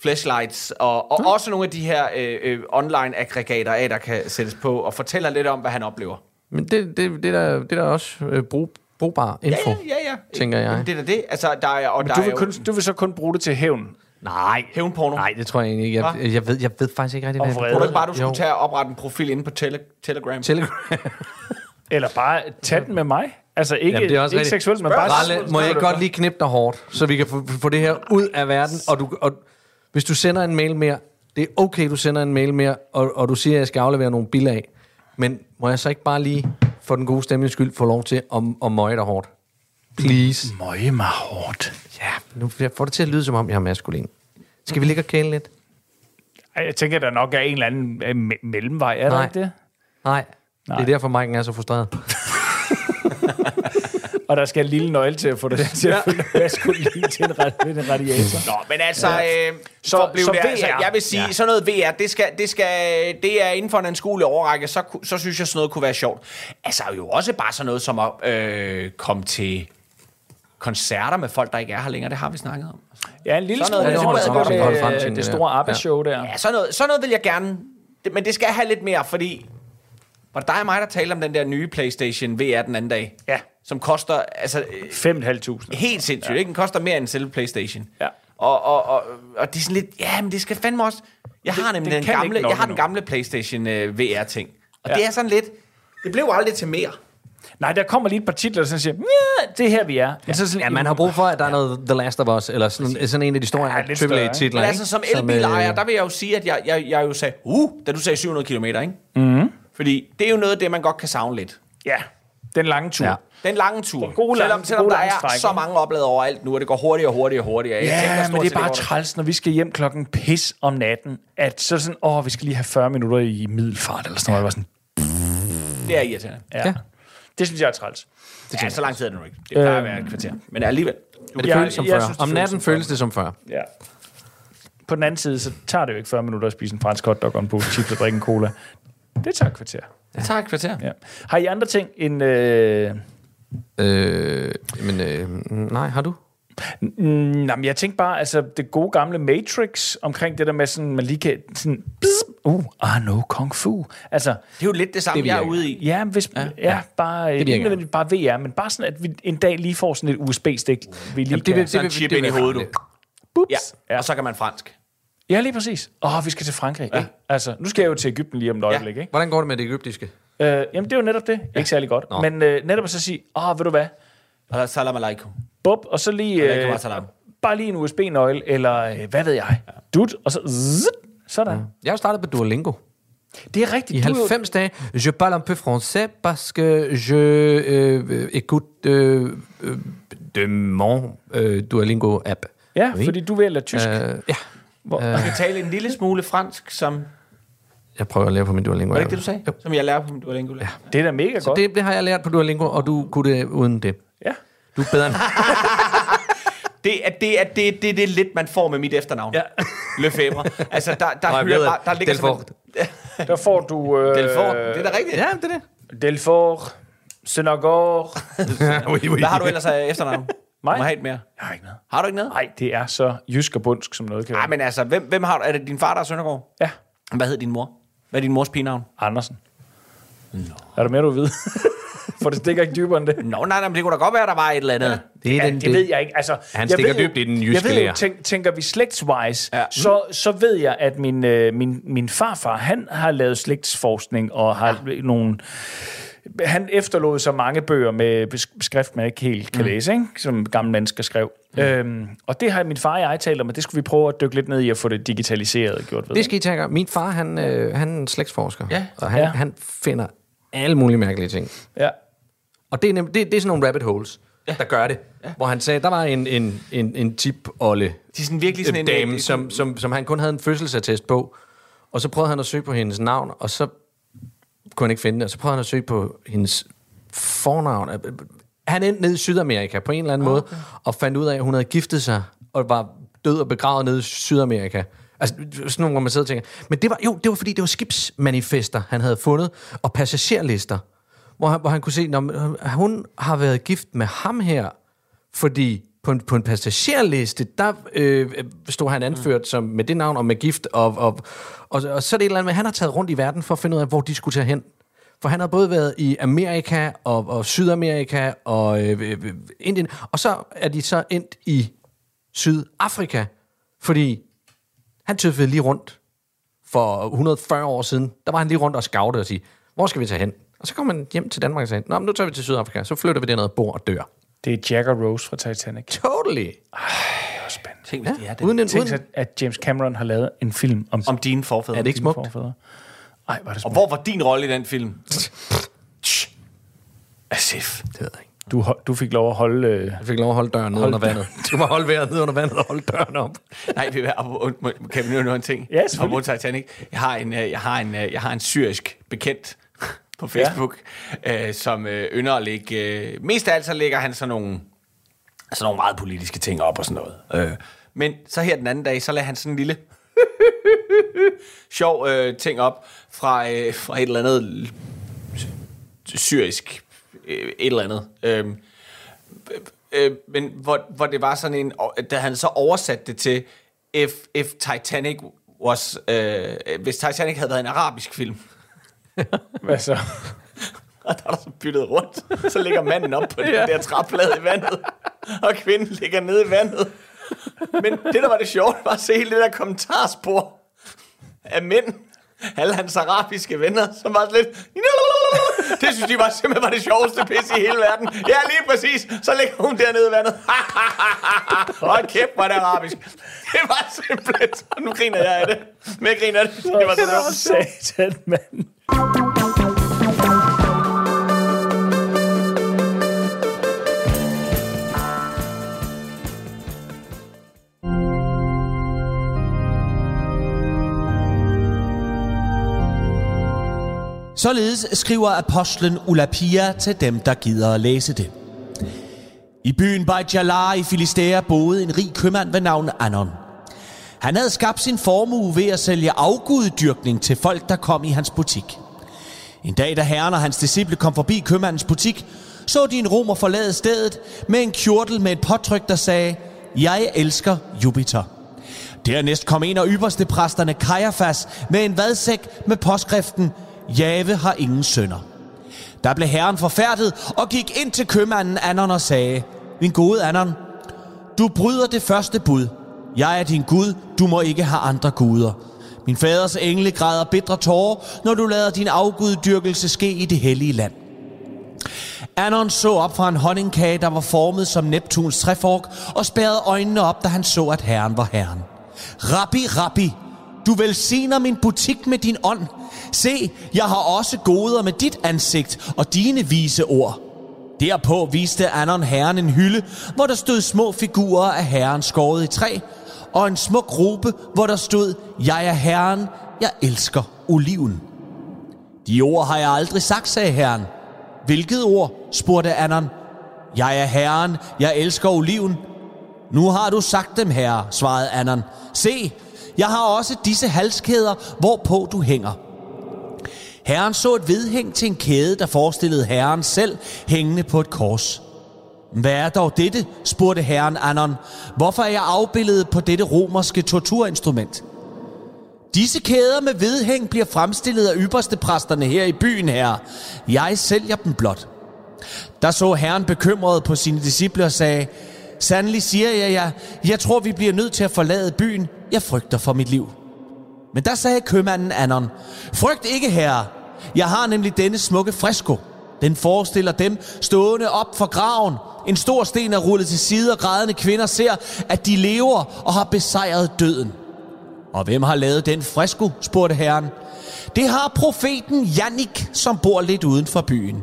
Speaker 6: flashlights, og, og også nogle af de her øh, øh, online-aggregater af, der kan sættes på, og fortæller lidt om, hvad han oplever.
Speaker 5: Men det, det, det, er der, det er der også øh, brug, brugbar info.
Speaker 6: Ja, ja, ja.
Speaker 5: tænker jeg.
Speaker 6: Jamen, Det er da det. Altså, der er, og der
Speaker 3: Du
Speaker 6: er
Speaker 3: vil,
Speaker 6: jo
Speaker 3: kun, du vil så kun bruge det til hævn.
Speaker 6: Nej. hævnporno.
Speaker 5: Nej, det tror jeg egentlig ikke. Jeg, jeg, ved, jeg ved faktisk ikke rigtig,
Speaker 3: Og
Speaker 5: hvad
Speaker 3: vrede.
Speaker 6: Tror du ikke bare, du skulle
Speaker 5: Jo.
Speaker 6: tage og oprette en profil inde på tele- Telegram?
Speaker 5: Telegram.
Speaker 3: Eller bare tage den med mig. Altså ikke,
Speaker 5: Jamen, det er også
Speaker 3: ikke
Speaker 5: rigtigt.
Speaker 3: seksuelt, men bare...
Speaker 5: Ralle, må jeg ikke godt lige knippe dig hårdt, så vi kan få, få det her ud af verden? Og, du, og hvis du sender en mail mere, det er okay, du sender en mail mere, og, og du siger, at jeg skal aflevere nogle billeder af. Men må jeg så ikke bare lige, for den gode stemnings skyld, få lov til at, at møje dig hårdt? Please.
Speaker 3: Møje mig hårdt.
Speaker 5: Ja, nu jeg får det til at lyde, som om jeg er maskulin. Skal vi ligge og kæle lidt?
Speaker 3: Ej, Jeg tænker, der nok er en eller anden øh, me- mellemvej, er der
Speaker 5: Nej.
Speaker 3: ikke det?
Speaker 5: Nej. Nej. Det er derfor, Mike'en er så frustreret.
Speaker 3: Og der skal en lille nøgle til at få det til at følge maskulin til en, rad- en radiator.
Speaker 6: Nå, men altså... Ja. Øh,
Speaker 3: Så-
Speaker 6: så, blev
Speaker 3: så
Speaker 6: det, altså,
Speaker 3: VR.
Speaker 6: jeg vil sige, ja. sådan noget VR, det, skal, det, skal, det er inden for en anskuelig overrække, så, ku- så synes jeg, sådan noget kunne være sjovt. Altså jo også bare sådan noget som at øh, komme til koncerter med folk, der ikke er her længere. Det har vi snakket om.
Speaker 3: Ja, en lille
Speaker 6: Sådan noget,
Speaker 3: smule.
Speaker 6: det
Speaker 3: Det,
Speaker 6: holder
Speaker 3: det,
Speaker 6: frem-
Speaker 3: godt,
Speaker 6: holder
Speaker 5: frem
Speaker 3: det,
Speaker 5: til
Speaker 3: øh,
Speaker 5: den
Speaker 3: det, det store
Speaker 5: der.
Speaker 3: ABBA-show der.
Speaker 6: Ja, sådan noget, sådan noget vil jeg gerne... Det, men det skal have lidt mere, fordi... Var det dig og mig, der talte om den der nye PlayStation VR den anden dag?
Speaker 3: Ja.
Speaker 6: Som koster... Altså, øh,
Speaker 3: 5.500.
Speaker 6: Helt sindssygt, ja. ikke? Den koster mere end selve Playstation.
Speaker 3: Ja.
Speaker 6: Og, og, og, og det er sådan lidt, ja, men det skal fandme også... Jeg har nemlig
Speaker 3: den
Speaker 6: den,
Speaker 3: kan ikke
Speaker 6: gamle,
Speaker 3: nok
Speaker 6: jeg har den
Speaker 3: endnu.
Speaker 6: gamle Playstation uh, VR-ting. Og
Speaker 3: Ja.
Speaker 6: ja. det er sådan lidt... Det blev aldrig til mere.
Speaker 3: Nej, der kommer lige et par titler, som siger, "Mm, ja, det er her, vi er. Men så sådan,
Speaker 5: Ja, man har brug for, at der er noget The Last of Us, eller sådan, sådan en af de store
Speaker 3: Ja, lidt større, ikke?
Speaker 5: AAA-titler.
Speaker 6: Men altså, som
Speaker 5: øh,
Speaker 6: elbilejer, der vil jeg jo sige, at jeg, jeg, jeg jo sagde, uh, da du sagde 700 km, ikke? Mm.
Speaker 3: Mhm.
Speaker 6: Fordi det er jo noget af det, man godt kan savne lidt.
Speaker 3: Ja, den lange tur.
Speaker 5: Ja.
Speaker 3: Ja.
Speaker 6: Den lange tur.
Speaker 3: Den gode
Speaker 6: selvom
Speaker 3: lange-
Speaker 6: selvom
Speaker 3: gode
Speaker 6: der
Speaker 3: lange
Speaker 6: er
Speaker 3: stræk,
Speaker 6: så
Speaker 3: ikke?
Speaker 6: mange oplader overalt nu, og det går hurtigere og hurtigere og hurtigere. Jeg tænker
Speaker 3: Ja,
Speaker 6: stort
Speaker 3: men det
Speaker 6: set,
Speaker 3: er bare
Speaker 6: går der.
Speaker 3: træls, når vi skal hjem klokken pis om natten, at så sådan, åh, vi skal lige have 40 minutter i middelfart, eller sådan noget. Det var sådan,
Speaker 6: Det er irriterende.
Speaker 3: ja.
Speaker 5: Ja.
Speaker 3: ja. Det synes jeg er træls.
Speaker 6: Ja, så lang tid er det nu ikke. Det plejer at være et kvarter. Men alligevel.
Speaker 5: Men det
Speaker 3: Jeg-
Speaker 5: føles som
Speaker 3: jeg
Speaker 5: før.
Speaker 3: synes, det
Speaker 5: Om
Speaker 3: føles
Speaker 5: natten føles det som før.
Speaker 3: Ja. På den anden side, så tager det jo ikke 40 minutter at spise en fransk hotdog og en pose chips og drikke en cola. Det tager et kvarter.
Speaker 6: Det tager et kvarter.
Speaker 3: Ja. Har I andre ting end... Øh...
Speaker 5: Øh, men øh, nej, har du?
Speaker 3: Mm, jamen, jeg tænkte bare, altså det gode gamle Matrix omkring det der med sådan, man lige kan sådan, bzz, uh, ah no, kung fu. Altså, det
Speaker 6: er jo lidt det samme, det jeg er ude i.
Speaker 3: Ja, men hvis, ja, ja, bare, det ikke nødvendigvis bare VR, men bare sådan, at vi en dag lige får sådan et USB-stik, vi lige
Speaker 6: Jamen, det vil, sådan en chip ind i hovedet, du.
Speaker 3: Bups.
Speaker 6: Ja, ja, og så kan man fransk.
Speaker 3: Ja, lige præcis. Åh, oh, vi skal til Frankrig. Ja. Altså, nu skal jeg jo til Ægypten lige om et øjeblik, ikke?
Speaker 5: Hvordan går det med det egyptiske?
Speaker 3: Øh, jamen, det er jo netop det. Ikke særlig godt.
Speaker 5: Nå.
Speaker 3: Men øh, netop at så sige, åh, oh, ved du hvad?
Speaker 6: Og salam alaikum.
Speaker 3: Bup, og så lige...
Speaker 6: Alaikum
Speaker 3: Øh,
Speaker 6: assalam.
Speaker 3: bare lige en USB-nøgle, eller øh, hvad ved jeg? Dut, og så... Zzz, sådan.
Speaker 5: Jeg har jo startet på Duolingo.
Speaker 3: Det er rigtigt.
Speaker 5: I
Speaker 3: du er jo-
Speaker 5: 90 dage, je parle un peu français parce que je øh, écoute øh, øh, de mon øh, Duolingo-app.
Speaker 3: Ja,
Speaker 5: Oui.
Speaker 3: fordi du vælger tysk.
Speaker 5: Øh, ja, Øh,
Speaker 6: Man kan tale en lille smule fransk, som... Var
Speaker 5: jeg prøver at lære på min Duolingo.
Speaker 6: det ikke det, du sagde? Som jeg lærer på min Duolingo. Ja.
Speaker 3: Det er da mega godt.
Speaker 5: Det, det har jeg lært på Duolingo, og du kunne det uden det.
Speaker 3: Ja.
Speaker 5: Du er bedre end...
Speaker 6: Det er det, er, det, er- det, er det lidt, man får med mit efternavn. Ja. Lefebvre. Altså, der, der,
Speaker 5: jeg
Speaker 6: hører
Speaker 5: ved,
Speaker 6: bare, der
Speaker 5: at
Speaker 6: ligger
Speaker 5: Delfort.
Speaker 3: Der får du... Øh,
Speaker 6: Delfort. Det er da rigtigt.
Speaker 5: ja, det er det.
Speaker 3: Delfort. Søndergaard.
Speaker 5: oui, oui.
Speaker 6: Hvad har du ellers af efternavn?
Speaker 3: Mig?
Speaker 6: Du må have et mere.
Speaker 3: Jeg har ikke noget.
Speaker 6: Har du ikke noget?
Speaker 3: Nej, det er så jysk og bundsk, som noget kan
Speaker 6: Nej,
Speaker 3: være.
Speaker 6: men altså, hvem, hvem har du? Er det din far, der er Søndergaard?
Speaker 3: Ja,
Speaker 6: Hvad hed din mor? Hvad er din mors pigenavn?
Speaker 3: Andersen. Nå. Er der mere, du vil vide? For det stikker ikke dybere end det.
Speaker 6: Nå, nej, nej, men det kunne da godt være, der var et eller andet.
Speaker 5: Det er
Speaker 3: Ja,
Speaker 5: den,
Speaker 3: det ved jeg ikke. Altså, jeg
Speaker 5: stikker
Speaker 3: ved jo-
Speaker 5: dybt i den jyske
Speaker 3: Jeg ved jo,
Speaker 5: lære.
Speaker 3: tænk, tænker vi slægtswise,
Speaker 6: Ja.
Speaker 3: ja. så, så ved jeg, at min, øh, min, min farfar, han har lavet slægtsforskning og
Speaker 5: Ah.
Speaker 3: har ja. nogle... Han efterlod så mange bøger med besk- skrift, man ikke helt kan mm. læse, ikke? som gamle mennesker skrev. Mm. Øhm, og det har min far og jeg talt om, og det skulle vi prøve at dykke lidt ned i at få det digitaliseret og gjort ved.
Speaker 5: Det skal I tage i gang. Min far, han, øh, han er en slægtsforsker,
Speaker 6: Ja.
Speaker 5: og han,
Speaker 3: Ja.
Speaker 5: ja. han finder alle mulige mærkelige ting.
Speaker 3: Ja.
Speaker 5: Og det er, nem, det, det er sådan nogle rabbit holes, ja. der gør det. Ja. Hvor han sagde, der var en, en, en, en tip-olle
Speaker 6: De er sådan virkelig sådan en-
Speaker 5: dame,
Speaker 6: en-
Speaker 5: som, som, som han kun havde øh, en fødselsattest på. Og så prøvede han at søge på hendes navn, og så kunne han ikke finde det. Og så prøvede han at søge på hendes fornavn. Han endte nede i Sydamerika på en eller anden okay. måde, og fandt ud af, at hun havde giftet sig, og var død og begravet nede i Sydamerika. Altså sådan nogle, hvor man sidder og tænker. Men det var, jo, det var fordi, det var skibsmanifester, han havde fundet, og passagerlister, hvor han, hvor han kunne se, at hun har været gift med ham her, fordi på en, på en passagerliste, der øh, øh, stod han anført som, med det navn og med gift, og, og, og, og så er det et eller andet med, han har taget rundt i verden for at finde ud af, hvor de skulle tage hen. For han har både været i Amerika og, og Sydamerika og øh, øh, øh, Indien, og så er de så endt i Sydafrika, fordi han tøffede lige rundt for 140 år siden. Der var han lige rundt og scoutede og sige, hvor skal vi tage hen? Og så kom man hjem til Danmark og sagde, Nå, men nu tager vi til Sydafrika, så flytter vi derned og bor og dør.
Speaker 3: Det er Jack og Rose fra Titanic. Det
Speaker 5: Totally.
Speaker 3: er spændende.
Speaker 6: Tænk, hvis de er det.
Speaker 5: Uden en,
Speaker 3: Tænk
Speaker 5: uden,
Speaker 3: sig, at James Cameron har lavet en film om,
Speaker 6: Om dine forfædre.
Speaker 5: er det ikke
Speaker 3: sine
Speaker 5: smukt?
Speaker 3: forfædre. Ej, var det
Speaker 6: Og
Speaker 3: smukt.
Speaker 6: hvor var din rolle i den film? Asif.
Speaker 5: Det ved jeg ikke.
Speaker 3: Du, hol- du fik lov at holde... Øh,
Speaker 5: Jeg fik lov at holde døren ned under vandet. Du må holde vejret ned under vandet og holde døren op.
Speaker 6: Nej, vi er, og- og- kan vi nu nå en ting?
Speaker 3: Ja, selvfølgelig.
Speaker 6: Om Titanic. Jeg har en, øh, jeg har en, øh, jeg har en syrisk bekendt på Facebook, ja. øh, som øh, ynder at lægge... Øh, mest af alt så lægger han sådan nogle, sådan nogle meget politiske ting op og sådan noget. Øh. Men så her den anden dag, så lader han sådan en lille sjov øh, ting op fra, øh, fra et eller andet syrisk øh, et eller andet. Øhm, øh, øh, men hvor, hvor det var sådan en, og- da han så oversatte det til, if, if Titanic was, øh, hvis Titanic havde været en arabisk film,
Speaker 3: hvad så?
Speaker 6: og der er der så byttet rundt, så ligger manden op på den der træplade i vandet, og kvinden ligger nede i vandet. Men det, der var det sjove, var at se hele det der kommentarspor af mænd, alle hans arabiske venner, som var sådan lidt... Det synes de var simpelthen var det sjoveste pis i hele verden. Ja, lige præcis. Så ligger hun dernede i vandet. Hold kæft, hvor er det arabisk. Det var simpelthen... Nu griner jeg af det. Men jeg griner af det. Det var så sjovt.
Speaker 3: Satan, mand.
Speaker 14: Således skriver apostlen Ulapia til dem, der gider at læse det. I byen Bajalar i Filistea boede en rig købmand ved navn Anon. Han havde skabt sin formue ved at sælge afguddyrkning til folk, der kom i hans butik.
Speaker 6: En dag, da herren og hans disciple kom forbi købmandens butik, så de en romer forlade stedet med en kjortel med et påtryk, der sagde, Jeg elsker Jupiter. Dernæst kom en af ypperste præsterne, Kajafas, med en vadsæk med påskriften, Jave har ingen sønner. Der blev herren forfærdet og gik ind til købmanden Anon og sagde, Min gode Anon, du bryder det første bud. Jeg er din Gud, du må ikke have andre guder. Min faders engle græder bitre tårer, når du lader din afguddyrkelse ske i det hellige land. Anon så op fra en honningkage, der var formet som Neptuns træfork, og spærrede øjnene op, da han så, at herren var herren. Rabbi, rabbi, du velsigner min butik med din ånd. Se, jeg har også goder med dit ansigt og dine vise ord. Derpå viste Anon herren en hylde, hvor der stod små figurer af herren skåret i træ, og en smuk robe, hvor der stod, jeg er herren, jeg elsker oliven. De ord har jeg aldrig sagt, sagde herren. Hvilket ord? spurgte Anon. Jeg er herren, jeg elsker oliven. Nu har du sagt dem, herre, svarede Anon. Se, jeg har også disse halskæder, hvorpå du hænger. Herren så et vedhæng til en kæde, der forestillede herren selv hængende på et kors. Hvad er dog dette? spurgte herren Anon. Hvorfor er jeg afbildet på dette romerske torturinstrument? Disse kæder med vedhæng bliver fremstillet af ypperste præsterne her i byen, herre. Jeg sælger dem blot. Der så herren bekymret på sine disciple og sagde, Sandelig siger jeg jer, jeg tror, vi bliver nødt til at forlade byen. Jeg frygter for mit liv. Men der sagde købmanden Anon, Frygt ikke, herre. Jeg har nemlig denne smukke fresko. Den forestiller dem stående op for graven. En stor sten er rullet til side, og grædende kvinder ser, at de lever og har besejret døden. Og hvem har lavet den fresko, spurgte herren. Det har profeten Jannik, som bor lidt uden for byen.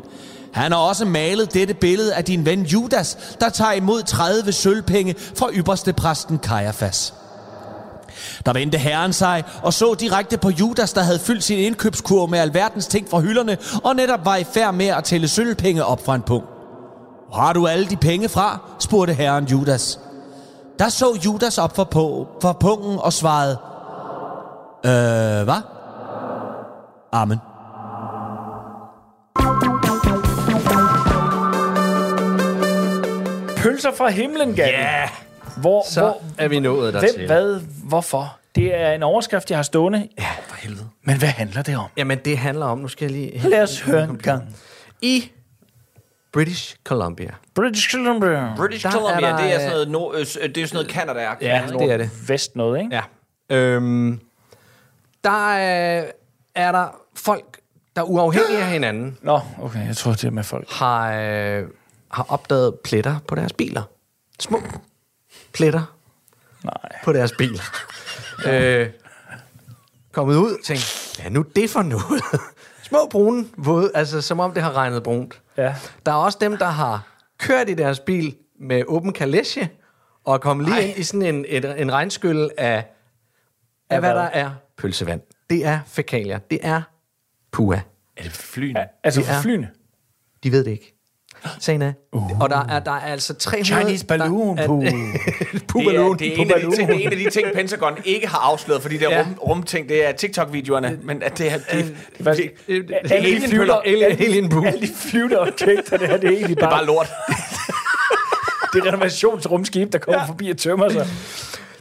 Speaker 6: Han har også malet dette billede af din ven Judas, der tager imod 30 sølvpenge fra ypperste præsten Kajafas. Der vendte herren sig og så direkte på Judas, der havde fyldt sin indkøbskurv med alverdens ting fra hylderne, og netop var i færd med at tælle sølvpenge op fra en punkt. Hvor har du alle de penge fra? spurgte herren Judas. Der så Judas op for, på, for pungen og svarede, Øh, hvad? Amen.
Speaker 3: Pølser fra himlen, Gabi. Ja, hvor,
Speaker 5: Så
Speaker 3: hvor,
Speaker 5: er vi nået dertil.
Speaker 3: Hvem, hvad, hvorfor? Det er en overskrift, jeg har stående. Ja, for helvede. Men hvad handler det om?
Speaker 5: Jamen, det handler om, nu skal jeg lige...
Speaker 3: Lad os høre en gang.
Speaker 5: I British Columbia.
Speaker 3: British Columbia.
Speaker 8: British
Speaker 5: Der er
Speaker 8: Columbia,
Speaker 5: der,
Speaker 8: det er
Speaker 5: øh,
Speaker 8: sådan noget, nord, øh, det er sådan noget Canada.
Speaker 5: Ja, det er det.
Speaker 3: Vest noget, ikke?
Speaker 5: Ja. Øhm, der øh, er der folk, der uafhængige af hinanden,
Speaker 3: Nå, okay, jeg tror, det er med folk.
Speaker 5: har, øh, har opdaget pletter på deres biler. Små pletter Nej. på deres biler. øh, kommet ud og tænkt, hvad er nu det for noget? Små brune, våde, altså som om det har regnet brunt.
Speaker 3: Ja.
Speaker 5: Der er også dem, der har kørt i deres bil med åben kalesje, og kom lige Ej. ind i sådan en, et, en regnskyld af, af hvad der er pølsevand. Det er fækalier. Det er pua.
Speaker 8: Er det flyene?
Speaker 3: Altså
Speaker 5: Det
Speaker 3: for
Speaker 5: er-
Speaker 3: flyene.
Speaker 5: De ved det ikke. Sagen er. Uh. Og der er, der er altså 300...
Speaker 3: Chinese balloon
Speaker 5: der,
Speaker 3: poo.
Speaker 8: Det er,
Speaker 5: Puballoon.
Speaker 8: det, er en af de
Speaker 3: Pubaloo.
Speaker 8: ting, det er en af de ting, Pentagon ikke har afsløret, fordi der
Speaker 5: Ja. Øh,
Speaker 8: ja. rum, rumting, det er TikTok-videoerne, men at det er... Det, det, det,
Speaker 3: Faktisk,
Speaker 8: det,
Speaker 3: alle de
Speaker 8: alien
Speaker 3: flyver-
Speaker 8: pøller.
Speaker 5: Alien, alien poo.
Speaker 3: Alle de flyvende objekter, det her, det er egentlig
Speaker 8: det er bare
Speaker 3: bare
Speaker 8: lort.
Speaker 3: det renovationsrumskib, der kommer ja. forbi og tømmer sig.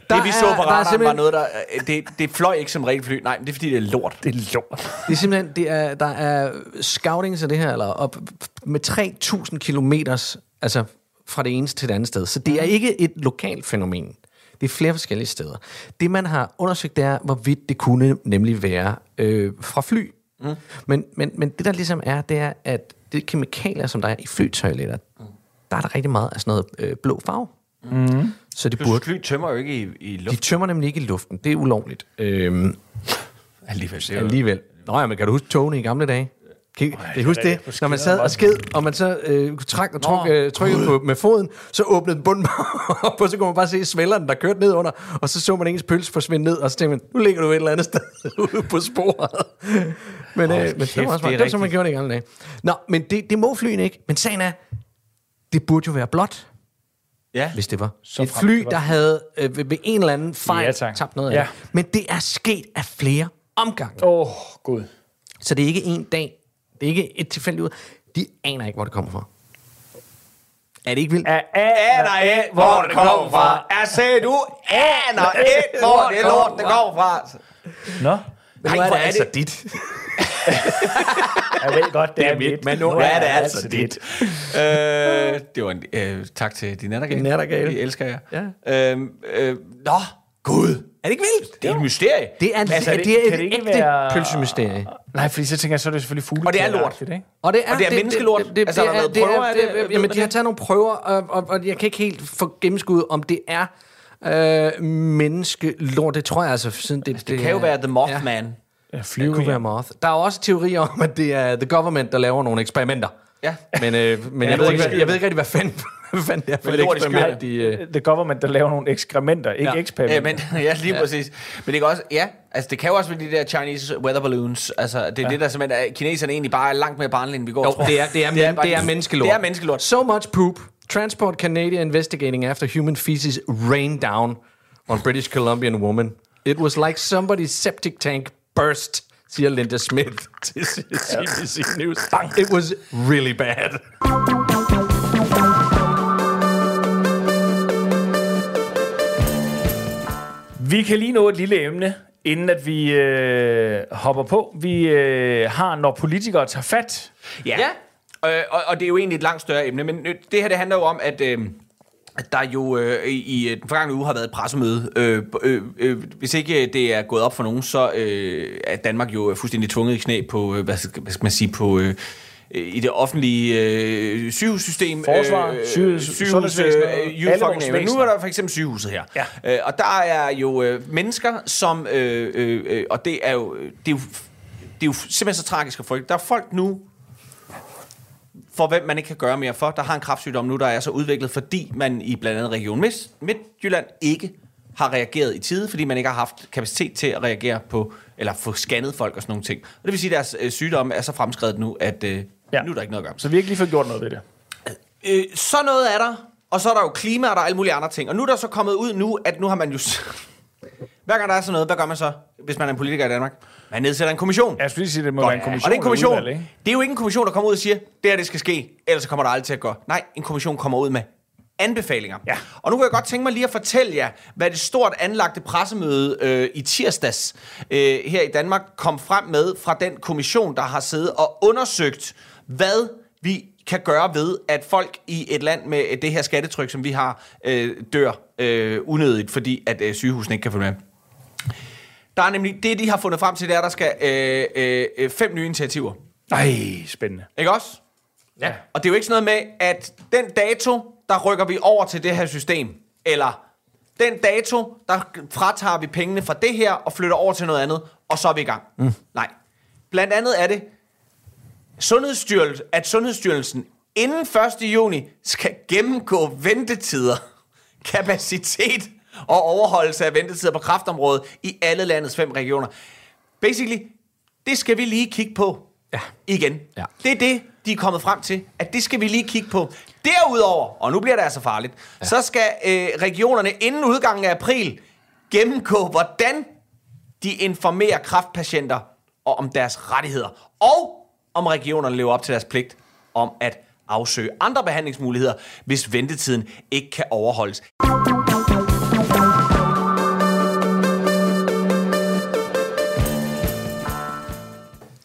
Speaker 5: Der
Speaker 8: det vi så
Speaker 5: er-
Speaker 8: på
Speaker 5: der er
Speaker 8: radaren var
Speaker 5: simpelthen-
Speaker 8: noget, der... øh, Det, det fløj ikke som rigtigt fly. Nej, men det er fordi, det er lort.
Speaker 3: Det er lort.
Speaker 5: Det er simpelthen, det er, der er scouting til det her, eller op med 3.000 kilometers, altså fra det ene til det andet sted. Så det er ikke et lokalt fænomen. Det er flere forskellige steder. Det, man har undersøgt, det er, hvorvidt det kunne nemlig være øh, fra fly. Mm. Men, men, men det, der ligesom er, det er, at det kemikalier, som der er i flytoiletter, mm. der er der rigtig meget af sådan noget øh, blå farve. Mm. Så det
Speaker 8: Plus,
Speaker 5: burde...
Speaker 8: fly tømmer jo ikke i, i
Speaker 5: De
Speaker 8: luft
Speaker 5: tømmer nemlig ikke i luften. Det er ulovligt. Øhm,
Speaker 8: alligevel. Det er jo-
Speaker 5: alligevel. Nå ja, men kan du huske togene i gamle dage? Kan, kan I huske det? Når man sad og sked, og man så øh, kunne trække og trykke, øh, trykkede på, med foden, så åbnede bunden op, og så kunne man bare se svælderen, der kørte ned under, og så så man ens pølse forsvinde ned, og så tænkte man, nu ligger du et eller andet sted ude på sporet. men, øh, men det var også
Speaker 8: det er
Speaker 5: meget. Det var som man
Speaker 8: rigtigt.
Speaker 5: gjorde det i gamle dage. Nå, men det, det må flyene ikke. Men sagen er, det burde jo være blåt,
Speaker 8: Ja.
Speaker 5: hvis det var. Så et
Speaker 3: frem
Speaker 5: fly,
Speaker 3: det var
Speaker 5: der havde øh, ved, ved en eller anden fejl
Speaker 3: Ja,
Speaker 5: ja,
Speaker 3: tak.
Speaker 5: tabt noget af
Speaker 3: Ja.
Speaker 5: det. Men det er sket af flere omgange.
Speaker 3: Åh, oh, Gud.
Speaker 5: Så det er ikke en dag, Det er ikke et tilfældigt ud. De aner ikke, hvor det kommer fra. Er det ikke vildt?
Speaker 6: Aner ikke, hvor det kommer fra. Jeg sagde, du aner ikke, hvor det lort, det kommer fra.
Speaker 3: Nå.
Speaker 6: Nej, hvor er det dit.
Speaker 3: Jeg ved godt, det,
Speaker 6: Det
Speaker 3: er,
Speaker 6: er mit, men nu er det altså dit. øh, det var en øh, tak til din nattergale.
Speaker 5: Din nattergale.
Speaker 6: Det elsker jeg.
Speaker 5: Ja.
Speaker 6: Øhm, øh, nå, Gud.
Speaker 5: Er det ikke vildt?
Speaker 6: Det er et mysterie.
Speaker 5: Det er, en, altså, det, det er
Speaker 3: kan
Speaker 5: et
Speaker 3: det ikke
Speaker 5: ægte
Speaker 3: være-
Speaker 5: være... pølsemysterie.
Speaker 3: Nej, fordi så tænker jeg, så er det selvfølgelig fugle.
Speaker 6: Og det er lort.
Speaker 3: Ikke?
Speaker 5: Og det er,
Speaker 6: Og det er menneskelort?
Speaker 5: Det, det,
Speaker 6: Altså, har der været
Speaker 5: det
Speaker 6: prøver af
Speaker 5: det,
Speaker 6: det? Ved
Speaker 5: Jamen,
Speaker 6: man
Speaker 5: de har
Speaker 6: det?
Speaker 5: taget nogle prøver, og, og, og jeg kan ikke helt få gennemskuddet, om det er øh, menneskelort. Det tror jeg altså, siden det... Altså,
Speaker 6: Det kan jo
Speaker 5: er-
Speaker 6: være The
Speaker 5: Ja,
Speaker 6: Mothman.
Speaker 3: Ja,
Speaker 5: det kunne
Speaker 3: flyve.
Speaker 5: være Moth. Der er også teorier om, at det er The Government, der laver nogle eksperimenter.
Speaker 6: Ja.
Speaker 5: Men, øh, men
Speaker 6: Ja,
Speaker 5: jeg,
Speaker 6: lort
Speaker 5: ved
Speaker 6: i
Speaker 5: ikke, hvad,
Speaker 6: skyen.
Speaker 5: jeg ved ikke rigtig, hvad fanden, hvad fanden det er for et
Speaker 6: Men lort i
Speaker 5: eksperiment, de...
Speaker 6: skyen.
Speaker 5: Øh,
Speaker 3: The government, der laver nogle ekskrementer, ikke ja.
Speaker 5: Ja.
Speaker 6: Ja,
Speaker 3: eksperimenter.
Speaker 6: men, ja, lige ja. præcis. Men det kan også, ja, altså det kan jo også være de der Chinese weather balloons. Altså det er ja. det, der simpelthen er, kineserne egentlig bare er langt mere barnlige, end vi går og
Speaker 5: Jo,
Speaker 6: tror.
Speaker 5: det er, det er, det er,
Speaker 6: bare-
Speaker 5: det er menneskelort.
Speaker 6: Det er menneskelort.
Speaker 5: So much poop. Transport Canada investigating after human feces rained down on British Columbian woman. It was like somebody's septic tank burst, siger Linda Smith til CBC News. It was really bad.
Speaker 3: Vi kan lige nå et lille emne, inden at vi øh, hopper på. Vi øh, har, når politikere tager fat.
Speaker 6: Ja. ja. Øh, og, og det er jo egentlig et langt større emne, men øh, det her det handler jo om, at, øh, at der jo øh, i, i den forgangne uge har været et pressemøde. Øh, øh, øh, hvis ikke øh, det er gået op for nogen, så øh, er Danmark jo fuldstændig tvunget i knæ på, øh, hvad, skal, hvad skal man sige, på... Øh, øh, i det offentlige øh, sygehussystem.
Speaker 3: Forsvar, sygehus-
Speaker 6: sygehus, øh,
Speaker 3: sundhedsvæsen,
Speaker 6: you
Speaker 3: alle
Speaker 6: fucking
Speaker 3: vores
Speaker 6: name it. Men nu
Speaker 3: væsener.
Speaker 6: er der for eksempel sygehuset her.
Speaker 3: Ja.
Speaker 6: Øh, og der er jo øh, mennesker, som... Øh, øh, øh, og det er jo... Det er jo det er jo simpelthen så tragisk at frygte. Der er folk nu, for hvem man ikke kan gøre mere for, der har en kraftsygdom nu, der er så udviklet, fordi man i blandt andet Region Midt- Midtjylland ikke har reageret i tide, fordi man ikke har haft kapacitet til at reagere på, eller få scannet folk og sådan nogle ting. Og det vil sige, at deres øh, sygdomme er så fremskrevet nu, at øh,
Speaker 3: Ja.
Speaker 6: ja. nu er der ikke noget at gøre. Så,
Speaker 3: Så vi har ikke lige fået gjort noget ved det.
Speaker 6: øh, sådan noget er der, og så er der jo klima, og der er alle mulige andre ting. Og nu er der så kommet ud nu, at nu har man jo... s- Hver gang der er sådan noget, hvad gør man så, hvis man er en politiker i Danmark? Man nedsætter en kommission.
Speaker 3: Jeg skulle lige sige, det må
Speaker 6: Godt.
Speaker 3: være en kommission.
Speaker 6: Og det er en kommission.
Speaker 3: eller udvalg, ikke?
Speaker 6: det er jo ikke en kommission, der kommer ud og siger, det her det skal ske, ellers så kommer der aldrig til at gå. Nej, en kommission kommer ud med anbefalinger.
Speaker 3: Ja.
Speaker 6: Og nu kunne jeg godt tænke mig lige at fortælle jer, hvad det stort anlagte pressemøde øh, i tirsdags øh, her i Danmark kom frem med fra den kommission, der har siddet og undersøgt, hvad vi kan gøre ved, at folk i et land med det her skattetryk, som vi har, øh, dør øh, unødigt, fordi at øh, sygehusene ikke kan følge med. Der er nemlig, det de har fundet frem til, det er, at der skal øh, øh, øh, fem nye initiativer.
Speaker 3: Nej, spændende.
Speaker 6: Ikke også? Ja. Og det er jo ikke sådan noget med, at den dato, der rykker vi over til det her system, eller den dato, der fratager vi pengene fra det her og flytter over til noget andet, og så er vi i gang. Mm. Nej. Blandt andet er det, Sundhedsstyrelsen, at Sundhedsstyrelsen inden 1. juni skal gennemgå ventetider, kapacitet og overholdelse af ventetider på kraftområdet i alle landets fem regioner. Basically, det skal vi lige kigge på ja. igen.
Speaker 5: Ja.
Speaker 6: Det er det, de er kommet frem til, at det skal vi lige kigge på. Derudover, og nu bliver det altså farligt, ja. så skal øh, regionerne inden udgangen af april gennemgå, hvordan de informerer kraftpatienter og om deres rettigheder, og om regionerne lever op til deres pligt om at afsøge andre behandlingsmuligheder, hvis ventetiden ikke kan overholdes.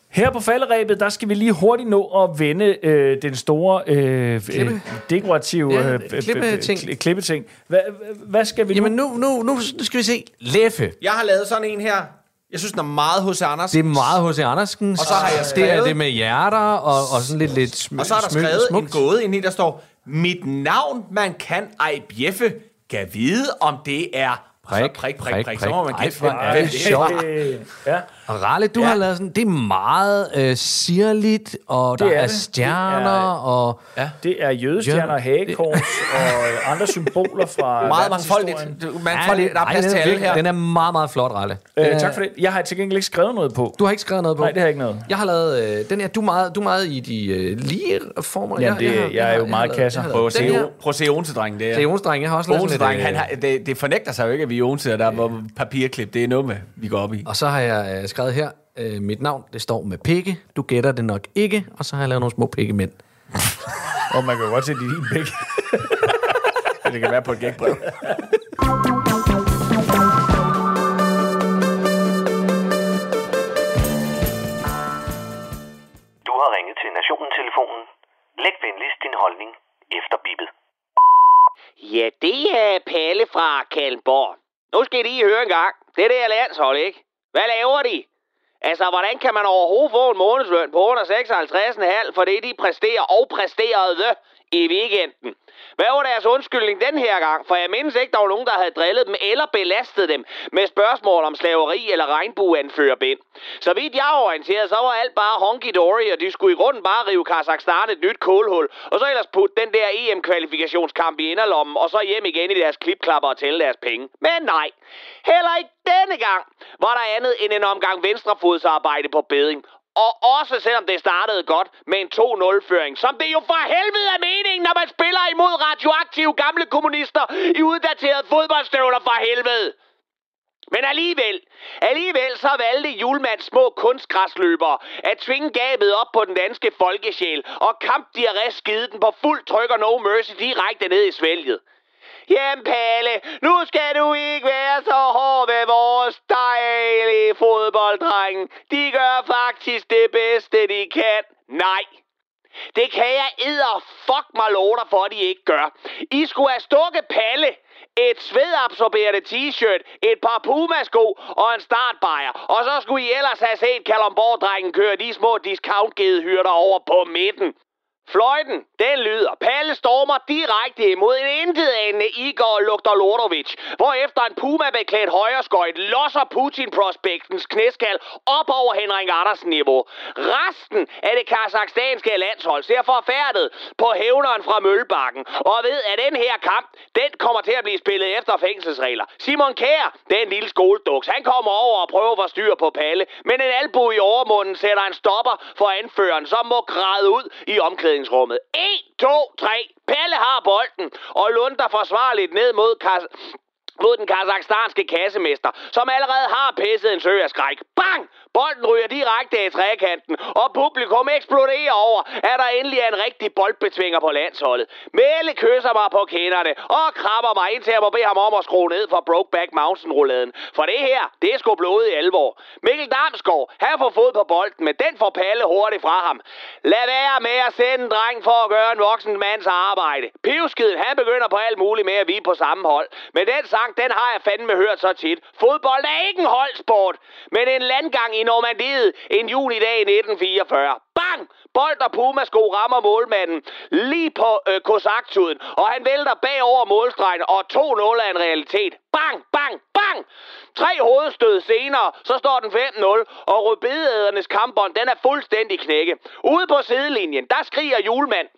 Speaker 3: Her på falderæbet, der skal vi lige hurtigt nå at vende øh, den store øh, øh, dekorative
Speaker 5: Ja,
Speaker 3: øh, øh,
Speaker 5: klippeting.
Speaker 3: kli- klippeting. Hvad, øh, hvad skal vi
Speaker 5: Jamen
Speaker 3: nu?
Speaker 5: nu, nu, nu, nu skal vi se. Leffe.
Speaker 6: Jeg har lavet sådan en her. Jeg synes, den er meget hos Anders.
Speaker 5: Det er meget H.C. Andersen. Og
Speaker 6: så har jeg
Speaker 5: Det er
Speaker 6: skrevet-
Speaker 5: det med hjerter og, og sådan lidt, lidt sm-
Speaker 6: Og så er der
Speaker 5: smyk-
Speaker 6: skrevet
Speaker 5: smukt.
Speaker 6: en gåde ind i, der står, mit navn, man kan ej bjeffe, kan vide, om det er... Prik, prik, prik, prik. prik. Så må man
Speaker 5: Ej,
Speaker 6: kigge,
Speaker 5: hvor
Speaker 6: hvem-
Speaker 5: er
Speaker 6: hvem
Speaker 5: det
Speaker 6: det er.
Speaker 5: sjovt.
Speaker 3: Øh, ja.
Speaker 5: Og Ralle, du ja. har lavet sådan, det er meget øh, sirligt, og det der
Speaker 3: er
Speaker 5: er,
Speaker 3: det. Det er-
Speaker 5: stjerner, og... Ja.
Speaker 3: Det er jødestjerner,
Speaker 5: Ja,
Speaker 3: ja,
Speaker 5: det-
Speaker 3: hagekors og øh, andre symboler fra
Speaker 6: Meget
Speaker 3: verdenshistorien.
Speaker 6: mangfoldigt. Du- mangfoldigt. Der er plads til alle her.
Speaker 5: Den er meget, meget flot, Ralle.
Speaker 3: Øh, tak for det. Jeg har til gengæld ikke skrevet noget på.
Speaker 5: Du har ikke skrevet noget på?
Speaker 3: Nej, det har jeg ikke noget.
Speaker 5: Jeg har lavet øh, den her, du er meget, du er meget i de øh, lige former.
Speaker 3: Jamen,
Speaker 5: har-
Speaker 3: det-
Speaker 5: har-
Speaker 3: jeg
Speaker 5: har-
Speaker 3: er jo
Speaker 5: har
Speaker 3: meget
Speaker 5: lavet-
Speaker 3: kasser.
Speaker 5: jeg har
Speaker 6: Prøv
Speaker 5: lavet
Speaker 6: at
Speaker 5: den
Speaker 6: se,
Speaker 5: her.
Speaker 6: prøv at se Onsedrengen, det
Speaker 5: Det er
Speaker 6: er.
Speaker 5: Jonsdreng, jeg har også lavet sådan
Speaker 6: Onsedrengen,
Speaker 5: lidt...
Speaker 6: han
Speaker 5: øh,
Speaker 6: har, det, det fornægter sig jo ikke, at vi er Onse, og der er papirklip. Det er noget med, vi går op i.
Speaker 5: Og så har jeg øh, skrevet her, Øh, mit navn, det står med pikke. Du gætter det nok ikke. Og så har jeg lavet nogle små pikkemænd.
Speaker 4: Og man kan jo godt se, at de er din pik. det kan være på et gækbrev.
Speaker 15: Du har ringet til Nationen-telefonen. Læg venligst din holdning efter bippet.
Speaker 16: Ja, det er Palle fra Kalmborg. Nu skal I lige høre en gang. Det der landshold, ikke? Hvad laver de? Altså, hvordan kan man overhovedet få en månedsløn på under 56,5 for det, de præsterer og præsterede i weekenden? Hvad var deres undskyldning den her gang? For jeg mindes ikke, der var nogen, der havde drillet dem eller belastet dem med spørgsmål om slaveri eller regnbueanførerbind. Så vidt jeg er orienteret, så var alt bare honky-dory, og de skulle i grunden bare rive Kazakhstan et nyt kålhul, og så ellers putte den der EM-kvalifikationskamp i inderlommen, og så hjem igen i deres klipklapper og tælle deres penge. Men nej, heller ikke denne gang var der andet end en omgang venstrefodsarbejde på beding. Og også selvom det startede godt med en 2-0-føring, som det jo for helvede er meningen, når man spiller imod radioaktive gamle kommunister i uddaterede fodboldstøvler for helvede. Men alligevel, alligevel så valgte Julmands små kunstgræsløbere at tvinge gabet op på den danske folkesjæl, og kampdiarré skide den på fuld tryk og no mercy direkte ned i svælget. Jamen Palle, nu skal du ikke være så hård ved vores dejlige fodbolddrenge. De gør faktisk det bedste, de kan. Nej, det kan jeg edder fuck mig love dig for, at de ikke gør. I skulle have stukket palle, et svedabsorberende t-shirt, et par pumasko og en startbajer. Og så skulle I ellers have set Kalumborg-drengen køre de små discount over på midten. Fløjten, den lyder. Palle stormer direkte imod en intetanende Igor Lugter Lordovic, hvorefter en puma-beklædt højreskøjt losser Putin-prospektens knæskal op over Henrik Andersen niveau. Resten af det kazakhstanske landshold ser forfærdet på hævneren fra Møllebakken og ved, at den her kamp, den kommer til at blive spillet efter fængselsregler. Simon Kjær, den lille skoleduks, han kommer over og prøver at få styr på Palle, men en albu i overmunden sætter en stopper for anføreren, som må græde ud i omklædningsrummet. 1, 2, 3. Palle har bolden og lunder forsvarligt ned mod Kas mod den kazakhstanske kassemester, som allerede har pisset en sø af skræk. Bang! Bolden ryger direkte i trækanten, og publikum eksploderer over, at der endelig er en rigtig boldbetvinger på landsholdet. Melle kysser mig på kinderne og krabber mig, indtil jeg må bede ham om at skrue ned for Brokeback Mountain-rulladen. For det her, det er sgu blodet i alvor. Mikkel Damsgaard, han får fod på bolden, men den får Palle hurtigt fra ham. Lad være med at sende en dreng for at gøre en voksen mands arbejde. Pivskiden, han begynder på alt muligt med at vi er på samme hold. Men den sang, den har jeg fandme hørt så tit. Fodbold er ikke en holdsport, men en landgang i Normandiet en junidag i 1944. Bang! Bold og Puma-sko rammer målmanden lige på øh, kosaktuden, og han vælter bagover målstregen, og 2-0 er en realitet. Bang, bang, bang! Tre hovedstød senere, så står den 5-0, og rødbedeædernes kampbånd, den er fuldstændig knække. Ude på sidelinjen, der skriger julemand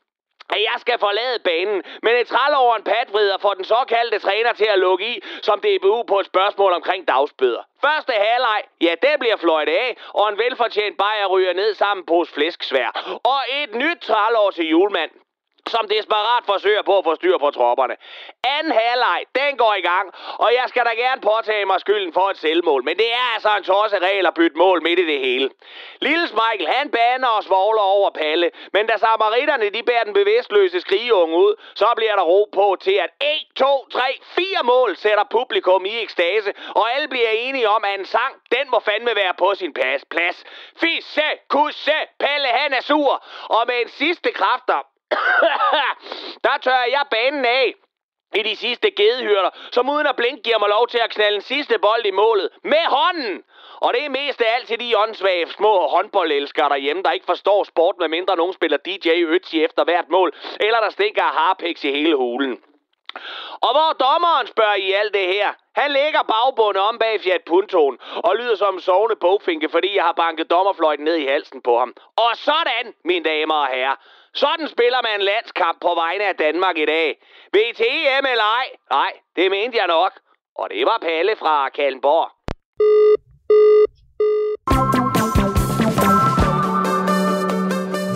Speaker 16: at jeg skal forlade banen, men et træl over en patvrider får den såkaldte træner til at lukke i, som DBU på et spørgsmål omkring dagsbøder. Første halvleg, ja, det bliver fløjtet af, og en velfortjent bajer ryger ned sammen på flæsksvær. Og et nyt træl over til julemanden som desperat forsøger på at få styr på tropperne. Anden halvleg, den går i gang, og jeg skal da gerne påtage mig skylden for et selvmål, men det er altså en tosset regel at bytte mål midt i det hele. Lille Michael, han baner og svogler over Palle, men da samaritterne de bærer den bevidstløse skrigeunge ud, så bliver der ro på til, at 1, 2, 3, 4 mål sætter publikum i ekstase, og alle bliver enige om, at en sang, den må fandme være på sin pas- plads. Fisse, kusse, Palle han er sur, og med en sidste kræfter, der tørrer jeg banen af i de sidste gedehyrder, som uden at blinke giver mig lov til at knalde den sidste bold i målet med hånden. Og det er mest af alt til de åndssvage små håndboldelskere derhjemme, der ikke forstår sport, medmindre nogen spiller DJ Ötzi efter hvert mål, eller der stikker harpiks i hele hulen. Og hvor dommeren spørger i alt det her? Han lægger bagbundet om bag Fiat Puntoen og lyder som en sovende bogfinke, fordi jeg har banket dommerfløjten ned i halsen på ham. Og sådan, mine damer og herrer, sådan spiller man en landskamp på vegne af Danmark i dag. E VTM eller ej? Nej, det mente jeg nok. Og det var Palle fra Kalmborg.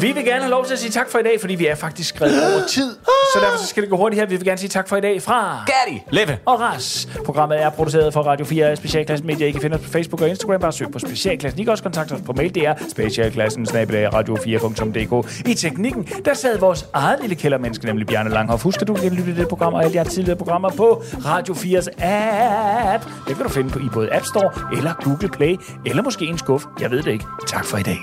Speaker 3: Vi vil gerne have lov til at sige tak for i dag, fordi vi er faktisk skrevet over tid. Så derfor så skal det gå hurtigt her. Vi vil gerne sige tak for i dag fra...
Speaker 17: Gatti,
Speaker 5: Leve
Speaker 3: og Ras. Programmet er produceret for Radio 4 af Specialklassen Media. I kan finde os på Facebook og Instagram. Bare søg på Specialklassen. I kan også kontakte os på mail. Det er specialklassen radio4.dk. I teknikken, der sad vores eget lille kældermenneske, nemlig Bjarne Langhoff. Husk, at du kan lytte til det program og alle de her tidligere programmer på Radio 4's app. Det kan du finde på i både App Store eller Google Play, eller måske en skuff. Jeg ved det ikke. Tak for i dag.